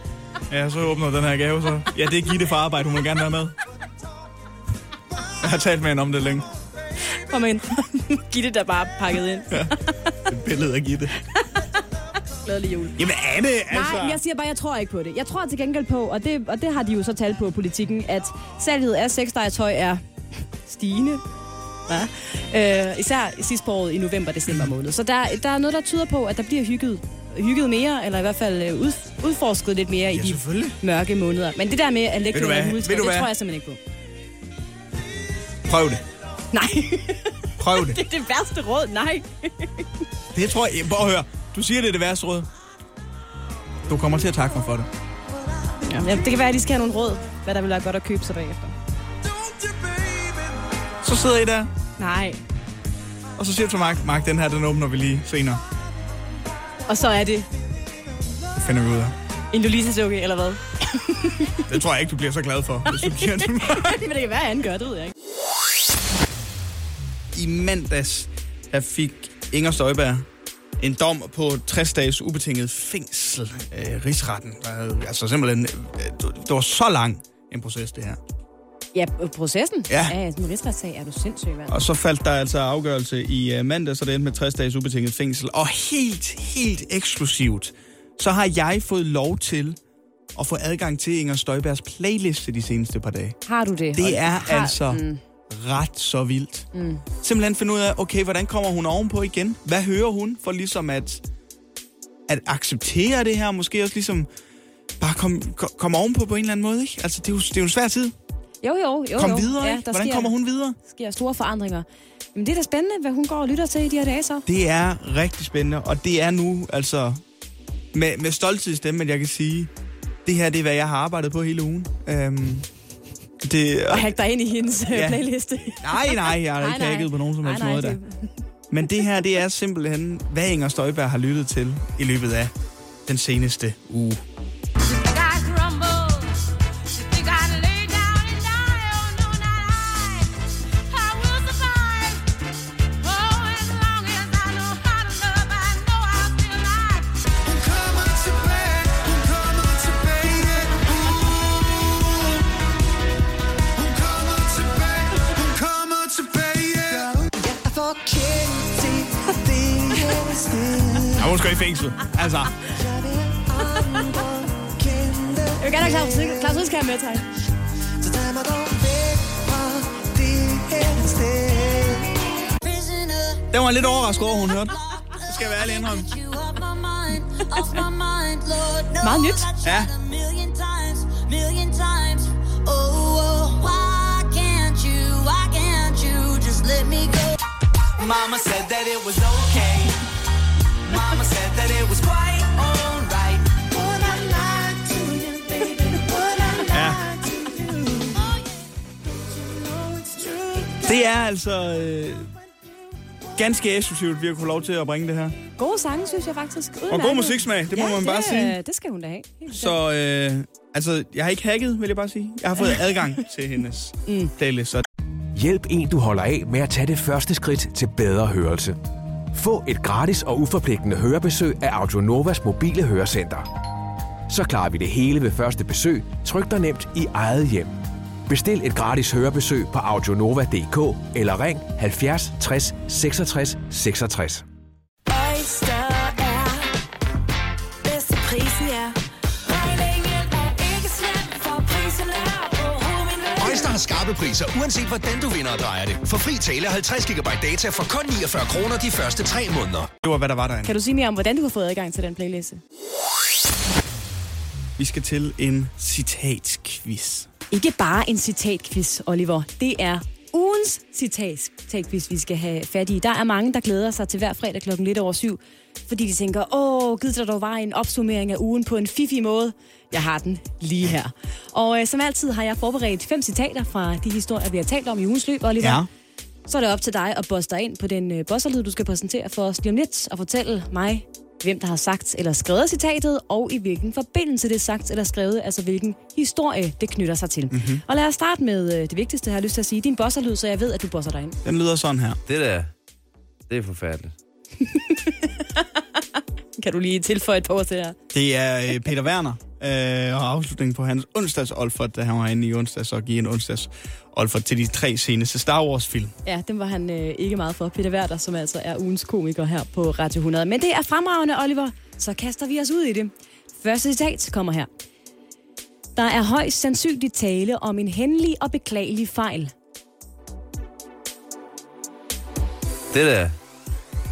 I: Ja, så åbner den her gave, så... Ja, det er Gitte fra arbejde, hun vil gerne være med. Jeg har talt med hende om det længe.
A: Kom ind. Giv det der bare pakket ind. Ja.
I: Et billede af Gitte.
A: Glædelig jul.
I: Jamen, er det, altså...
A: Altså... Nej, men jeg siger bare, at jeg tror ikke på det. Jeg tror til gengæld på, og det, og det har de jo så talt på politikken, at salget af sexlegetøj er stigende. Ja. Øh, især sidste på året i november december måned. Så der, der er noget, der tyder på, at der bliver hygget, hygget mere, eller i hvert fald øh, ud, udforsket lidt mere ja, i de mørke måneder. Men det der med at lægge
I: Ved du
A: noget
I: hvad?
A: juletræ,
I: Ved
A: det
I: du hvad?
A: tror jeg simpelthen ikke på.
I: Prøv det.
A: Nej.
I: Prøv det.
A: det er det værste råd, nej.
I: Det tror jeg... Prøv at høre. Du siger, det er det værste råd. Du kommer til at takke mig for det.
A: Ja, det kan være, at de skal have nogle råd, hvad der vil være godt at købe sig bagefter.
I: Så sidder I der,
A: Nej.
I: og så siger du til Mark, Mark, den her, den åbner vi lige senere.
A: Og så er det
I: Det finder vi ud af.
A: en Lolita-sukke, eller hvad?
I: Det tror jeg ikke, du bliver så glad for, hvis du giver det
A: Men det kan være, at han gør, det ved jeg ikke.
I: I mandags, der fik Inger Støjberg en dom på 60 dages ubetinget fængsel. Øh, rigsretten. Der havde- Altså simpelthen, øh, det det var så lang en proces, det her.
A: Ja, p- processen?
I: Ja.
A: ja sådan en rigsretssag er du sindssyg, mand.
I: Og så faldt der altså afgørelse i øh, mandag, så det endte med 60 dages ubetinget fængsel. Og helt, helt eksklusivt, så har jeg fået lov til at få adgang til Inger Støjbergs playliste de seneste par dage.
A: Har du det?
I: Det er
A: har...
I: altså
A: Mm,
I: ret så vildt.
A: mm.
I: Simpelthen finde ud af, okay, hvordan kommer hun ovenpå igen? Hvad hører hun for ligesom at, at acceptere det her? Måske også ligesom bare komme kom, kom ovenpå på en eller anden måde, ikke? Altså, det er jo, det er jo en svær tid.
A: Jo, jo, jo.
I: Kom
A: jo.
I: videre, ikke? Hvordan kommer hun videre?
A: Der sker store forandringer. Jamen, det er da spændende, hvad hun går og lytter til i de her dage så.
I: Det er rigtig spændende, og det er nu altså med, med stolthed i stemmen, at jeg kan sige, det her det er, hvad jeg har arbejdet på hele ugen. Øhm, det,
A: Og hack dig ind i hendes ja.
I: Ja.
A: playliste.
I: Nej, nej, jeg har ikke hacket på nogen som helst måde der. Men det her, det er simpelthen, hvad Inger Støjberg har lyttet til i løbet af den seneste uge.
J: Oh,
I: Ja, hun skal i fængsel. Altså,
A: Jeg vil gerne have Claus Rydsk- Claus Rydsk her med, tak.
I: den var lidt overrasket over, hun hørte. Det skal jeg være ærlig indrømme.
A: Meget nyt.
I: Ja.
J: Oh, Mama said that it was okay. Mama said that it was quite alright. Would I lie to you, baby? Would I
I: Ja.
J: lie to you? Oh,
I: Det er altså øh, ganske eksklusivt, vi har kunnet lov til at bringe det her.
A: Gode sange, synes jeg faktisk.
I: Og god musiksmag, det må
A: ja,
I: man bare
A: det, øh,
I: sige.
A: det skal hun da have. Helt bestemt.
I: Så øh, altså, jeg har ikke hacket, vil jeg bare sige. Jeg har fået adgang til hendes
A: Mm.
I: playlist. Så
E: Hjælp en, du holder af med at tage det første skridt til bedre hørelse. Få et gratis og uforpligtende hørebesøg af Audionovas mobile hørecenter. Så klarer vi det hele ved første besøg, trygt og nemt i eget hjem. Bestil et gratis hørebesøg på audionova.dk eller ring 70 60 66 66.
J: Oyster er bedst til prisen, ja. Regningen er ikke slem, for prisen er overhovedet min ven.
P: Øjster har skarpe priser, uanset hvordan du vinder og drejer det. For fri tale 50 GB data for kun 49 kroner de første 3 måneder.
I: det var, hvad der var derinde.
A: Kan du sige mere om, hvordan du har fået adgang til den playliste?
I: Vi skal til en citatquiz.
A: Ikke bare en citatquiz, Oliver. Det er ugens citat- citatquiz, vi skal have fat i. Der er mange, der glæder sig til hver fredag klokken lidt over syv, fordi de tænker, åh, givet der dog var en opsummering af ugen på en fifi måde. Jeg har den lige her. Og øh, som altid har jeg forberedt fem citater fra de historier, vi har talt om i ugens løb, Oliver.
I: Ja.
A: Så er det op til dig at bosse dig ind på den øh, bosserlyd, du skal præsentere for os lige om lidt, og fortælle mig, hvem der har sagt eller skrevet citatet, og i hvilken forbindelse det er sagt eller skrevet, altså hvilken historie det knytter sig til. Mm-hmm. Og lad os starte med øh, det vigtigste, jeg har lyst til at sige. Din bosserlyd, så jeg ved, at du bosser dig ind.
I: Den lyder sådan her.
C: Det der, det er forfærdeligt.
A: Kan du lige tilføje et par ord til det her?
I: Det er øh, Peter Werner, øh, og afslutningen på hans onsdags Olfert, da han var inde i onsdags og give en onsdags Olfert til de tre seneste Star Wars-film.
A: Ja, den var han øh, ikke meget for. Peter Werther, som altså er ugens komiker her på Radio 100. Men det er fremragende, Oliver. Så kaster vi os ud i det. Første citat kommer her. Der er højst sandsynligt tale om en henlig og beklagelig fejl.
C: Det der,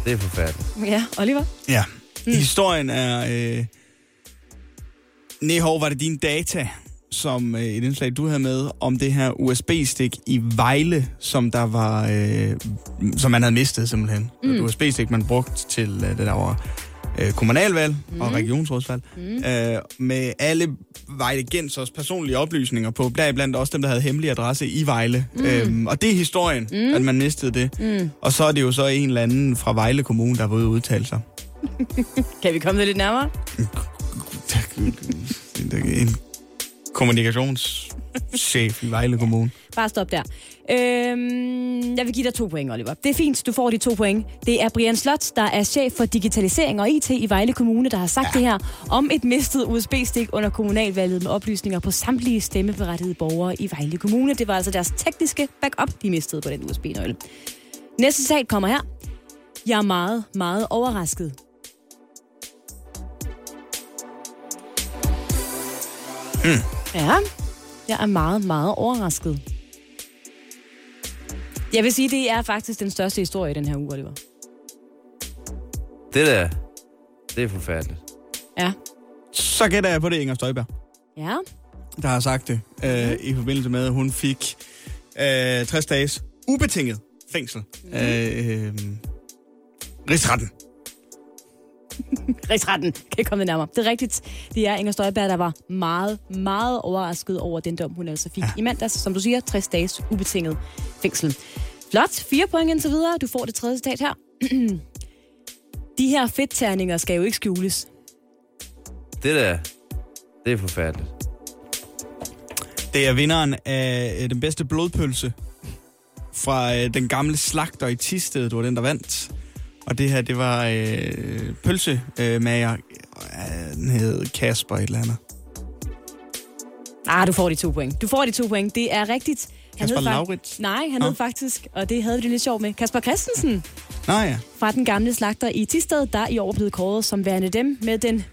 C: det er forfærdeligt.
A: Ja, Oliver.
I: Ja. Mm. Historien er... Øh, Nehov, var det dine data, som øh, et indslag, du havde med, om det her USB-stik i Vejle, som der var, øh, som man havde mistet simpelthen. Mm. Et
J: Mm.
I: USB-stik, man brugte til øh, det der var øh, kommunalvalg mm. og regionsrådsvalg, mm. øh, med alle Vejle Gensers personlige oplysninger på, blandt også dem, der havde hemmelig adresse i Vejle. Mm.
J: Mm.
I: Øhm, og det er historien, mm. at man mistede det.
A: Mm.
I: Og så er det jo så en eller anden fra Vejle Kommune, der var ude at udtale sig.
A: Kan vi komme det lidt nærmere?
I: en kommunikationschef i Vejle Kommune.
A: Bare stop der. Øhm, jeg vil give dig to point, Oliver. Det er fint, du får de to point. Det er Brian Slot, der er chef for digitalisering og IT i Vejle Kommune, der har sagt ja. det her om et mistet USB-stik under kommunalvalget med oplysninger på samtlige stemmeberettigede borgere i Vejle Kommune. Det var altså deres tekniske backup, de mistede på den USB-nøgle. Næste sag kommer her. Jeg er meget, meget overrasket.
I: Mm.
A: Ja, jeg er meget, meget overrasket. Jeg vil sige, det er faktisk den største historie i den her uge, Oliver.
C: Det der, det er forfærdeligt.
I: Så gætter jeg på det, Inger Støjberg,
A: Ja,
I: der har sagt det, øh, i forbindelse med, at hun fik øh, 60 dages ubetinget fængsel. Mm. Øh, øh, Rigsretten.
A: rigsretten kan komme lidt nærmere. Det er rigtigt. Det er Inger Støjberg, der var meget, meget overrasket over den dom, hun altså fik ja. i mandags. Som du siger, 60 dages ubetinget fængsel. Flot. Fire point indtil videre. Du får det tredje citat her. De her fedtterninger skal jo ikke skjules.
C: Det der, det er forfærdeligt.
I: Det er vinderen af øh, den bedste blodpølse fra øh, den gamle slagter i Tisted. Det var den, der vandt. Og det her, det var øh, pølsemager. Øh, den hed Kasper et eller andet.
A: Ah, du får de to point. Du får de to point. Det er rigtigt.
I: Kasper
A: hed fak-
I: Lauritz?
A: Nej, han
I: Nå.
A: hed faktisk, og det havde vi det lidt sjovt med, Kasper Christensen
I: Nå ja.
A: fra den gamle slagter i Tisted, der er i år blevet kåret som værende dem med den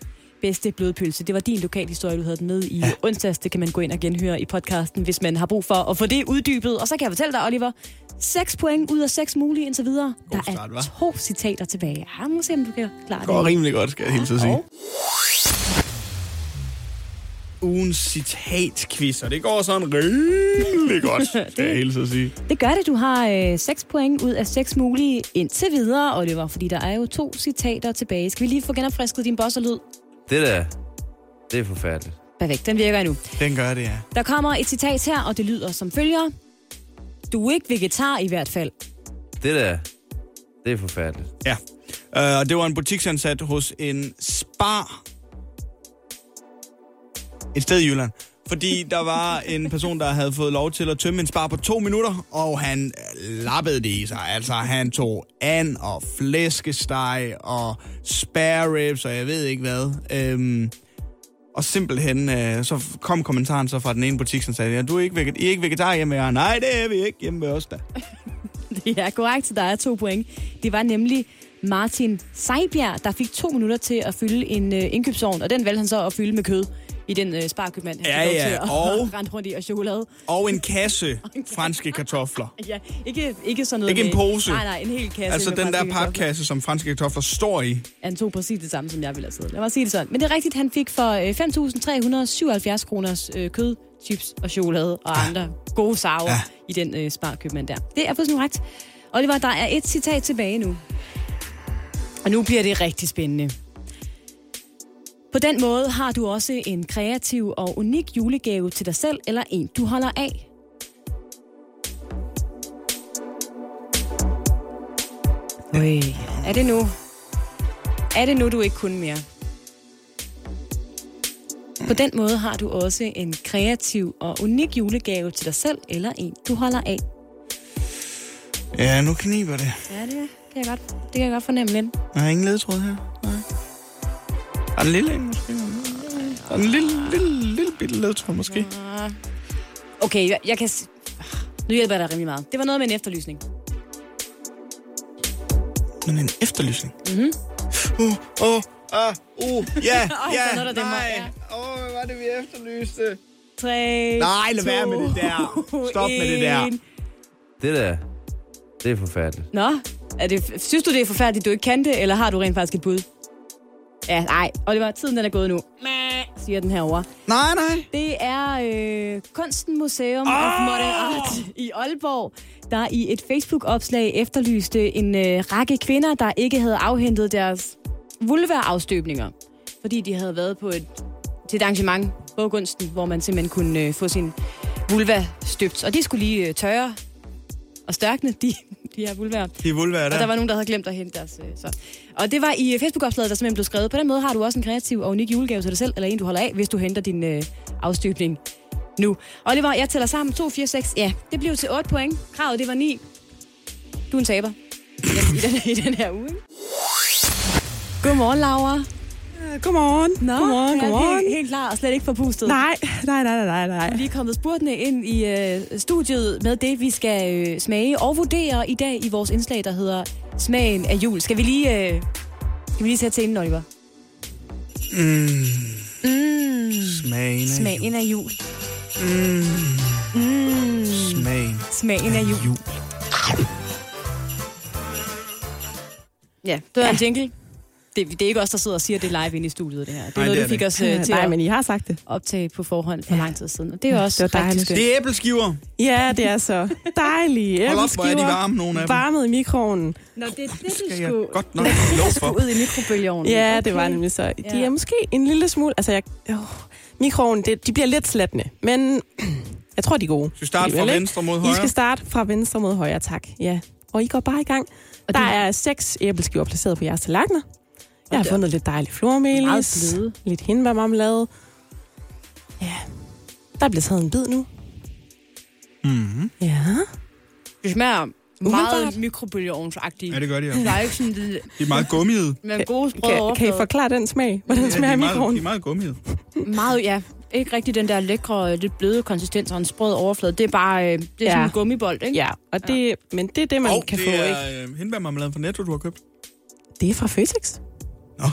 A: bedste blodpølse. Det var din lokalhistorie, du havde den med i ja. onsdags. Det kan man gå ind og genhøre i podcasten, hvis man har brug for at få det uddybet. Og så kan jeg fortælle dig, Oliver, 6 point ud af 6 mulige indtil videre. God der
I: start,
A: er
I: hva'?
A: to citater tilbage. Ja, nu må se, om du kan klare
I: Det
A: det.
I: går rimelig godt, skal jeg helt sige. Ugens citatquiz, og det går sådan rimelig godt, skal jeg helt sige.
A: Det gør det. Du har øh, 6 point ud af 6 mulige indtil videre, Oliver, fordi der er jo to citater tilbage. Skal vi lige få genopfrisket din bosserlyd?
C: Det der, det er forfærdeligt.
A: Perfekt, den virker endnu.
I: Den gør det, ja.
A: Der kommer et citat her, og det lyder som følger. Du er ikke vegetar i hvert fald.
C: Det der, det er forfærdeligt.
I: Ja. Øh, Og det var en butiksansat hos en spar. Et sted i Jylland. Fordi der var en person, der havde fået lov til at tømme en spar på to minutter, og han lappede det i sig. Altså, han tog and og flæskesteg og spare ribs, og jeg ved ikke hvad. Øhm, og simpelthen, øh, så kom kommentaren så fra den ene butiksansatte, ja, du er ikke, veget- I er ikke vegetar hjemme ved jer. Nej, det er vi ikke hjemme ved os da.
A: Det er korrekt, der er to point. Det var nemlig Martin Sejbjerg, der fik to minutter til at fylde en øh, indkøbsovn, og den valgte han så at fylde med kød i den øh, sparkøbmand, han
I: Ja,
A: fik lov
I: ja,
A: til at
I: og-
A: rende rundt i, og chokolade.
I: Og en kasse franske kartofler.
A: Ja, ikke, ikke sådan noget
I: Ikke en
A: med-
I: pose.
A: Nej, nej, en hel kasse.
I: altså
A: med
I: den der
A: franske kartofler.
I: papkasse, som franske kartofler står i.
A: Han tog præcis det samme, som jeg ville have siddet. Lad mig sige det sådan. Men det er rigtigt, han fik for øh, 5.377 kroners øh, kød, chips og chokolade og andre gode sager ja. i den øh, sparkøbmand der. Det er fuldstændig ret. Oliver, der er et citat tilbage nu. Og nu bliver det rigtig spændende. På den måde har du også en kreativ og unik julegave til dig selv eller en, du holder af. Øj, er det nu? Er det nu, du ikke kunne mere? På den måde har du også en kreativ og unik julegave til dig selv eller en, du holder af.
I: Ja, nu kniber det.
A: Ja, det kan jeg godt, det kan jeg godt fornemme lidt.
I: Der er ingen ledtråd her. Nej. Er en lille en måske? Der er en lille, lille, lille bitte ledtråd måske.
A: Ah. Okay, jeg, jeg kan... s- Nu hjælper jeg dig rimelig meget. Det var noget med en efterlysning.
I: Men en efterlysning.
A: Mm-hmm.
I: Uh, uh, ah, uh,
A: Ej,
I: ja, ja,
A: der er noget, der dæmmer,
I: nej.
A: ja.
I: Åh, oh, hvad var det, vi efterlyste?
A: 3,
I: Nej, lad være med det der. Stop med det der.
C: Det der, det er forfærdeligt.
A: Nå, er det, synes du, det er forfærdeligt, du ikke kan det, eller har du rent faktisk et bud? Ja, nej. Oliver, tiden den er gået nu. Mæh, Siger den herovre.
I: Nej, nej.
A: Det er øh, Kunsten Museum oh! of Modern Art i Aalborg, der i et Facebook-opslag efterlyste en øh, række kvinder, der ikke havde afhentet deres vulva-afstøbninger, fordi de havde været på et, til et arrangement, Bogunsten, hvor man simpelthen kunne øh, få sin vulva støbt. Og de skulle lige øh, tørre og stærkne, de, de her vulvaer.
I: De er vulvaer
A: Og
I: der.
A: der var nogen, der havde glemt at hente deres... Øh, så. Og det var i øh, Facebook-opslaget, der simpelthen blev skrevet. På den måde har du også en kreativ og unik julegave til dig selv, eller en, du holder af, hvis du henter din øh, afstøbning nu. Oliver, jeg tæller sammen. 2, 4, 6. Ja, det blev til 8 point. Kravet, det var 9. Du er en taber. I den, i den her uge. ikke? Godmorgen, Laura.
L: Øh, Godmorgen.
A: Nå,
L: godmorgen,
A: jeg er
L: godmorgen.
A: Helt, helt klar og slet ikke forpustet.
L: Nej, nej, nej, nej, nej.
A: Vi er kommet spurtende ind i øh, studiet med det, vi skal øh, smage og vurdere i dag i vores indslag, der hedder Smagen af jul. Skal vi lige, øh, skal vi lige sætte scenen, Oliver?
I: Mm,
A: Mm.
I: smagen
A: Smagen
I: af jul.
A: af jul.
I: Mm,
A: Mm.
I: smagen.
A: Smagen af jul. Ja, det var en jingle. Det, det er ikke os, der sidder og siger, at det er live inde i studiet, det her. Det er
I: Nej,
A: noget,
I: det
A: det
I: er
A: du fik
I: det
A: os øh, til
L: Nej,
A: at
L: men I har sagt det. Mm,
A: optage på forhånd for lang tid siden. Og det er også
L: det var
A: rigtig
L: dejligt.
A: skønt.
I: Det er æbleskiver.
L: Ja, det er så dejlige.
I: Hold op, hvor er de
L: æbleskiver,
I: varme, nogle af dem.
L: Varmet i mikroven.
A: Nå, det er det, du
I: Skal jeg
A: skulle...
I: godt nok lov
A: Du
I: for.
A: skulle ud i mikrobølgeovnen.
L: Ja, det var nemlig så. De
A: Ja.
L: er måske en lille smule... Altså, jeg, øh, mikroven, det, de bliver lidt slatne, men jeg tror, de er gode.
I: Skal vi starte fra
L: Alligevel, ikke?
I: venstre mod
L: I
I: højre?
L: skal starte fra venstre mod højre, tak. Ja. Og I går bare i gang.
A: Og
L: Der
A: det-
L: er seks æbleskiver placeret på jeres tallerkener. Jeg har fundet lidt dejlig flormelis, lidt hindbærmarmelade. Ja, der bliver taget en bid nu.
A: Mm-hmm.
L: Ja.
A: Det smager
L: Umiddelbart.
A: meget mikrobølgeovnsagtigt.
L: Ja, det gør det, ja.
A: Der er ikke sådan det...
I: Det er meget gummiet.
A: Men gode sprøde
L: kan, kan I
A: overflade.
L: forklare den smag? Hvordan
I: Ja,
L: ja,
I: de
L: smager
I: er
L: i
I: meget,
L: mikroen?
I: de er meget gummiet.
A: Meget, ja. Ikke rigtig den der lækre, øh, lidt bløde konsistens og en sprød overflade. Det er bare øh, det er ja. sådan en gummibold, ikke?
L: Ja, og det, ja. men det er det, man
I: Og
L: kan
I: det
L: få, ikke?
I: er øh, hindbærmarmeladen fra Netto, du har købt.
L: Det er fra Føtex. Ja.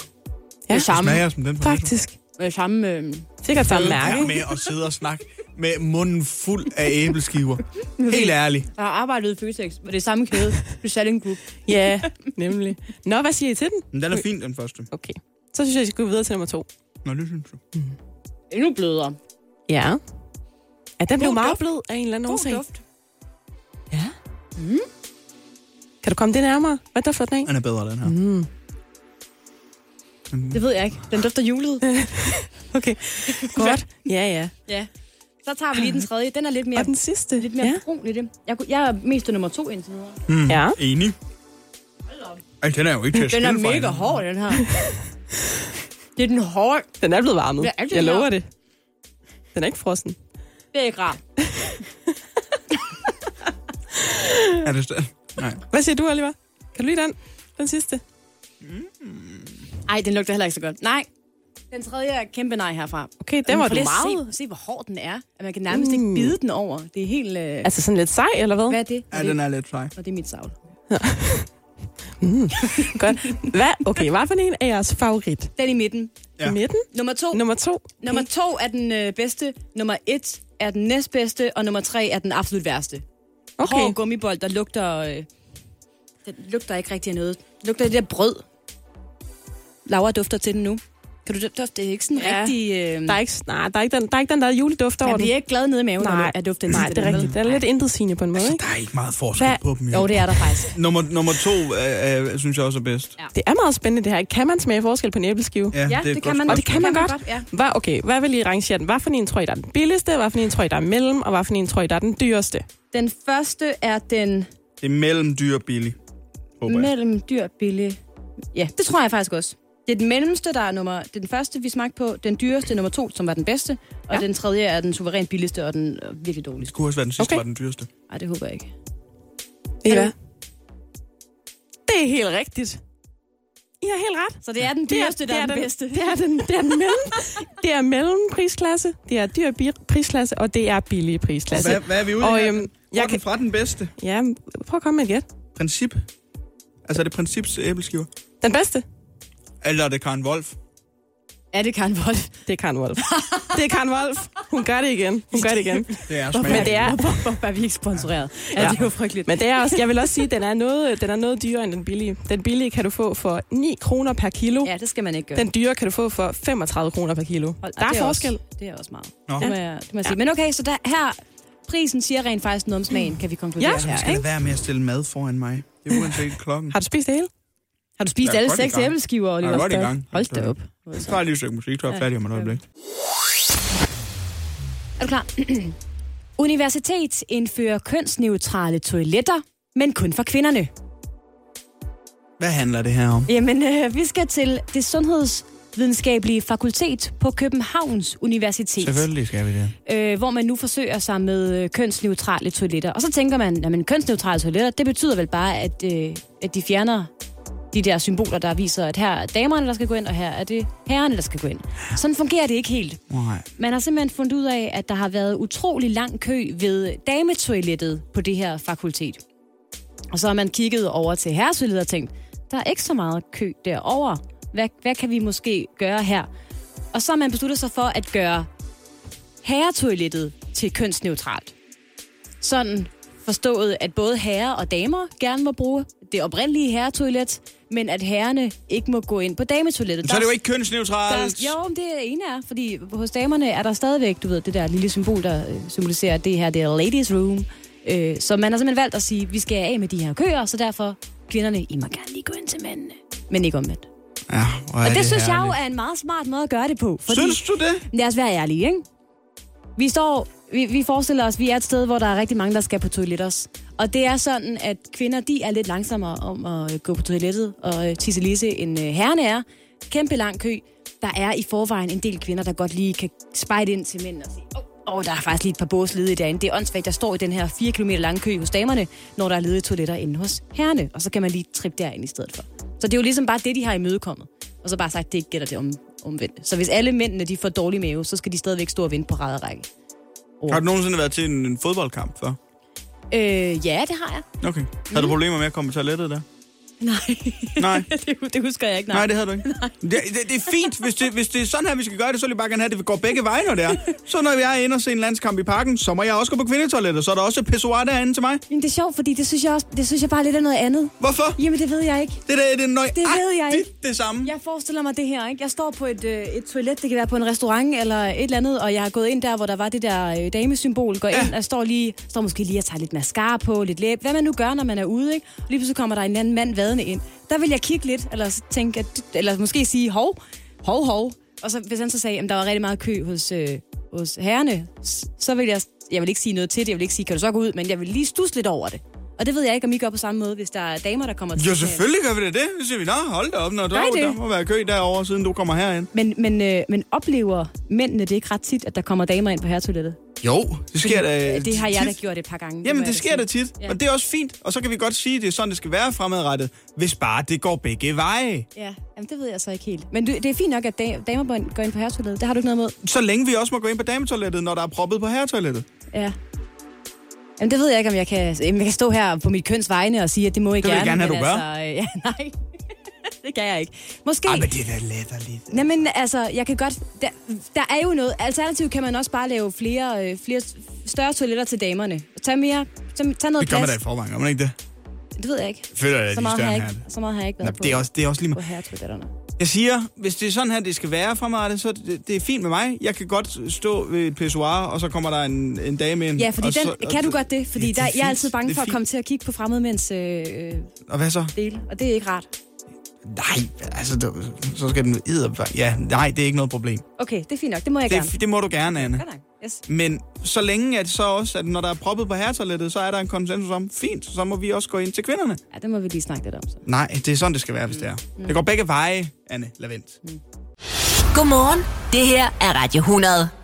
A: Det samme.
I: Smager som den fra Netto.
L: Faktisk.
A: Med samme... Øh,
L: Sikkert samme
I: Lad
L: mærke.
I: være med at sidde og snakke med munden fuld af æbleskiver. Helt ærligt.
A: Jeg har arbejdet i Føtex, og det er samme kæde. Det er Selling Group.
L: Ja, nemlig. Nå, hvad siger I til den?
I: Men den er fin, den første.
L: Okay. Så synes jeg, I skal gå videre til nummer to.
I: Nå, det synes jeg.
A: Endnu blødere.
L: Ja. Ja, den blev
A: God
L: meget
A: duft.
L: blød af en eller anden
A: God
L: årsag.
A: duft.
L: Ja. Mm. Kan du komme det nærmere? Hvad dufter den af?
I: Den er bedre, den her.
L: Mm.
A: Det ved jeg ikke. Den dufter julet.
L: okay, godt. Ja, ja.
A: Ja. Så tager vi lige den tredje. Den er lidt mere...
L: Og den sidste.
A: Lidt mere ja. brun i det. Jeg, kunne- jeg er mest til nummer to indtil videre.
I: Mm.
L: Ja.
I: Enig. Ej, den er jo ikke til at
A: Den er
I: skille fra
A: mega
I: hinanden.
A: hård, den her. det er den hårde.
L: Den er blevet varmet.
A: Ja, er det
L: jeg
A: den
L: lover
A: her?
L: det. Den er ikke frossen.
A: Det er ikke rart.
I: Er det stadig? Nej.
L: Hvad siger du, Oliver? Kan du lide den? Den sidste?
A: Ej, den lugter heller ikke så godt. Nej. Den tredje er kæmpe nej herfra.
L: Okay, den var
A: du
L: du meget.
A: Se, se, hvor hård den er. At man kan nærmest mm. ikke bide den over. Det er helt... Øh...
L: Altså sådan lidt sej, eller hvad?
A: Hvad er det?
I: Ja, den er lidt fly.
A: Og det er mit savl.
L: Mm. Godt. Hvad? Okay, hvad for en er jeres favorit?
A: Den i midten.
I: Ja.
L: Midten?
A: Nummer to.
L: Nummer to?
A: Nummer to er den øh, bedste. Nummer et er den næstbedste. Og nummer tre er den absolut værste.
L: Okay.
A: Hård gummibold, der lugter... Øh... Den lugter ikke rigtig af noget. Den lugter af det der brød. Laura dufter til den nu. Kan du dufte? Det er ikke sådan
L: Ja.
A: ja. rigtig... Øh...
L: Der er ikke, nej, der er ikke den der, er ikke den der juleduft over
A: Man
L: den.
A: bliver ikke glad nede i maven, når
L: Nej,
A: du- at duften
L: nej,
A: til
L: det er
A: den,
L: rigtigt.
A: vel?
L: Den er lidt intetsigende på en måde,
I: Altså,
L: ikke?
I: der er ikke meget forskel
L: Hvad?
I: på dem, jo.
A: Jo, det er der faktisk.
I: Nummer, nummer to øh, øh, synes jeg også er bedst. Ja,
L: Det er meget spændende, det her. Kan man smage forskel på en æbleskive?
I: ja
A: det
I: et
A: kan
I: godt
A: man.
L: Og det kan
I: spørgsmål.
L: man,
A: kan man
L: godt.
A: godt, ja.
L: Hvad, okay, hvad vil I rangere den? Hvad for en tror I, der er den billigste? Hvad for en tror I, der er mellem? Og hvad for en tror I, der er den dyreste?
A: Den første er den
I: Det er mellem dyr og billig. Håber jeg.
A: mellem dyr billig. Ja, det tror jeg faktisk også. Det er den mellemste, der er nummer... Det er den første, vi smagte på. Den dyreste, nummer to, som var den bedste. Og ja. den tredje er den suverænt billigste og den øh, virkelig
I: Det
A: dårligste.
I: kunne også være den sidste,
L: Okay.
I: okay. var den dyreste.
A: Nej, det håber jeg ikke.
L: Ved I
A: Er
L: hvad? Det er helt rigtigt. I har helt ret.
A: Så det er den
L: Det
A: dyreste, der er den bedste.
L: Det er den, det er den mellem. Det er mellemprisklasse, det er dyr bi- prisklasse, og det er billig prisklasse.
I: Hvad, hvad er vi ude
L: og,
I: i her?
L: øhm,
I: Får
L: jeg
I: den
L: kan-
I: fra den bedste?
L: Ja, prøv at komme med et gæt.
I: Princip? Altså, er det princips æbleskiver?
L: Den bedste,
I: Eller er det Karen Wolf?
A: Er det Karen Wolf?
L: det er Karen Wolf. Det er Karen Wolf. Hun gør det igen. Hun gør det igen.
I: Det er smagen.
L: Men det er,
A: Hvorfor er vi ikke sponsoreret? Ja,
L: Ja.
A: det er jo frygteligt.
L: men det er også, jeg vil også sige, at den er noget, den er noget dyrere end den billige. Den billige kan du få for 9 kroner per kilo.
A: Ja, det skal man ikke gøre.
L: Den dyre kan du få for 35 kroner per kilo.
A: Hold-
L: Der
A: det
L: er forskel.
A: Også, det er også meget.
I: Nå.
A: Det må jeg, det må jeg sige. Men okay, så der, her... Prisen siger rent faktisk noget om smagen, kan vi konkludere
L: Ja.
A: her,
I: Skal
A: ikke?
I: lade være med at stille mad foran mig? Det er uanset klokken.
L: Har du spist det hele?
A: Har du spist
I: Jeg er
A: alle
I: godt i
A: seks
I: gang.
A: æbleskiver, Oliver?
I: Jeg er godt i gang.
A: Hold da op.
I: Jeg tager lige et stykke musik, så er jeg færdig om et øjeblik.
A: Er du klar? Universitet indfører kønsneutrale toiletter, men kun for kvinderne.
I: Hvad handler det her om?
A: Jamen, øh, vi skal til det sundhedsvidenskabelige fakultet på Københavns Universitet.
I: Selvfølgelig skal vi det.
A: øh, hvor man nu forsøger sig med øh, kønsneutrale toiletter. Og så tænker man, at kønsneutrale toiletter, det betyder vel bare, at, øh, at de fjerner de der symboler, der viser, at her er damerne, der skal gå ind, og her er det herrerne, der skal gå ind. Sådan fungerer det ikke helt.
I: Nej.
A: Man har simpelthen fundet ud af, at der har været utrolig lang kø ved dametoilettet på det her fakultet. Og så har man kigget over til herretoilettet og tænkt, der er ikke så meget kø derovre. Hvad, hvad kan vi måske gøre her? Og så har man besluttet sig for at gøre herretoilettet til kønsneutralt. Sådan forstået, at både herrer og damer gerne må bruge det oprindelige herretoilet, men at herrerne ikke må gå ind på dametoilettet.
I: Så er det
A: Der-
I: jo ikke kønsneutralt.
A: der, jo, men det ene er, fordi hos damerne er der stadigvæk, du ved, det der lille symbol, der øh, symboliserer, at det her det er ladies room. Øh, så man har simpelthen valgt at sige, at vi skal af med de her køer, så derfor, kvinderne, I må gerne lige gå ind til mændene. Men ikke omvendt.
I: Ja, hvor er
A: Og det, det synes jeg
I: herligt.
A: jo er en meget smart måde at gøre det på. Fordi,
I: Synes du det?
A: Lad os være ærlige, ikke? Vi står... Vi, vi forestiller os, at vi er et sted, hvor der er rigtig mange, der skal på toiletters. Og det er sådan, at kvinder de er lidt langsommere om at øh, gå på toilettet og øh, tisse lise, end øh, herrerne er. kæmpe lang kø. Der er i forvejen en del kvinder, der godt lige kan spejde ind til mænd og sige, åh, oh, der er faktisk lige et par bås ledige derinde. Det er åndssvagt, jeg står i den her 4 km lange kø hos damerne, når der er ledige toiletter inde hos herrene. Og så kan man lige trippe derind i stedet for. Så det er jo ligesom bare det, de har imødekommet. Og så bare sagt, det ikke gælder det om, omvendt. Så hvis alle mændene de får dårlig mave, så skal de stadigvæk stå og vente på række.
I: Har du nogensinde været til en, en fodboldkamp før?
A: Øh, ja, det har jeg.
I: Okay. Har du problemer med at komme på toilettet der?
A: Nej.
I: Nej.
A: det, det husker jeg ikke.
I: Nej, Nej det havde du ikke. Det, det, det er fint, hvis det, hvis det er sådan her, vi skal gøre det, så vil jeg bare gerne have, at det går begge veje, når det er. Så når jeg er inde og ser en landskamp i parken, så må jeg også gå på kvindetoilettet, så er der også et pissoir derinde til mig.
A: Men det er sjovt, fordi det synes jeg, også, det synes jeg bare lidt er noget andet.
I: Hvorfor?
A: Jamen, det ved jeg ikke.
I: Det der, det er nøjagtigt
A: Det ved jeg ikke.
I: det samme.
A: Jeg forestiller mig det her, ikke? Jeg står på et, øh, et toilet, det kan være på en restaurant eller et eller andet, og jeg er gået ind der, hvor der var det der øh, damesymbol, går ind, og jeg står lige, står måske lige og tager lidt mascara på, lidt læb, hvad man nu gør, når man er ude, ikke? Og lige pludselig kommer der en anden mand vadende ind. Der vil jeg kigge lidt, eller så tænke, at, eller måske sige, hov, hov, hov. Og så, hvis han så sagde, at der var rigtig meget kø hos, øh, hos herrene, s- så vil jeg, jeg vil ikke sige noget til det, jeg vil ikke sige, kan du så gå ud, men jeg vil lige stusse lidt over det. Og det ved jeg ikke, om I gør på samme måde, hvis der er damer, der kommer til.
I: Jo, selvfølgelig gør vi det. det. Så siger vi, nå, hold da op, når der,
A: Nej, det-
I: der må være kø derovre, siden du kommer herind.
A: Men, men, øh, men oplever mændene det ikke ret tit, at der kommer damer ind på herretoilettet?
I: Jo, det sker da
A: det har jeg da
I: Øh, tit.
A: gjort et par gange. må
I: Jamen,
A: jeg
I: det sker
A: sige.
I: da tit,
A: Ja.
I: og det er også fint. Og så kan vi godt sige, at det er sådan, det skal være fremadrettet, hvis bare det går begge veje.
A: Ja, jamen, det ved jeg så ikke helt. Men du, det er fint nok, at da- damer går ind- går ind på herretoilettet. Det har du ikke noget imod.
I: Så længe vi også må gå ind på dametoilettet, når der er proppet på herretoilettet.
A: Ja. Jamen, det ved jeg ikke, om jeg kan, jamen, jeg kan stå her på mit køns vegne og sige, at det må I
I: Det vil jeg gerne have,
A: men
I: du gør.
A: Altså, øh, ja, nej, det kan jeg ikke. Måske...
I: Ej, men det er da latterligt.
A: Nej, men altså, jeg kan godt... Der, der er jo noget. Alternativt kan man også bare lave flere, øh, flere større toiletter til damerne. Tag mere... Tag, tag noget
I: Det gør man da i
A: plads.
I: forvejen, gør man ikke det?
A: Det ved jeg ikke.
I: Føler jeg, at
A: så
I: de
A: meget,
I: større
A: har jeg
I: end
A: ikke, så meget har jeg ikke været
I: Nå,
A: på,
I: det er også, Mm. det er også lige
A: på
I: meget.
A: herretoiletterne.
I: Jeg siger, hvis det er sådan her, det skal være fremadrettet, så det, det er fint med mig. Jeg kan godt stå ved et pissoir, og så kommer der en, en dame ind.
A: Ja, fordi
I: og
A: den,
I: så,
A: kan du godt det? Fordi
I: det
A: ja,
I: er
A: der, jeg er
I: fint.
A: altid
I: Det
A: bange
I: er
A: for at
I: fint.
A: komme til at kigge på fremmede mænds øh, øh,
I: Og hvad så?
A: dele, og det er ikke rart.
I: Nej, altså, det, så skal den edder... Ja, nej, det er ikke noget problem.
A: Okay, det er fint nok. Det må jeg gerne.
I: Det, det må du gerne, Anne.
A: Godt nok. Yes.
I: Men så længe at så også, at når der er proppet på herretoilettet, så er der en konsensus om, fint, så må vi også gå ind til kvinderne.
A: Ja, det må vi lige snakke lidt om. Så.
I: Nej, det er sådan, det skal være, hvis det er.
A: Mm.
I: Det går begge veje, Anne Lavendt.
Q: Godmorgen. Det her er Radio 100.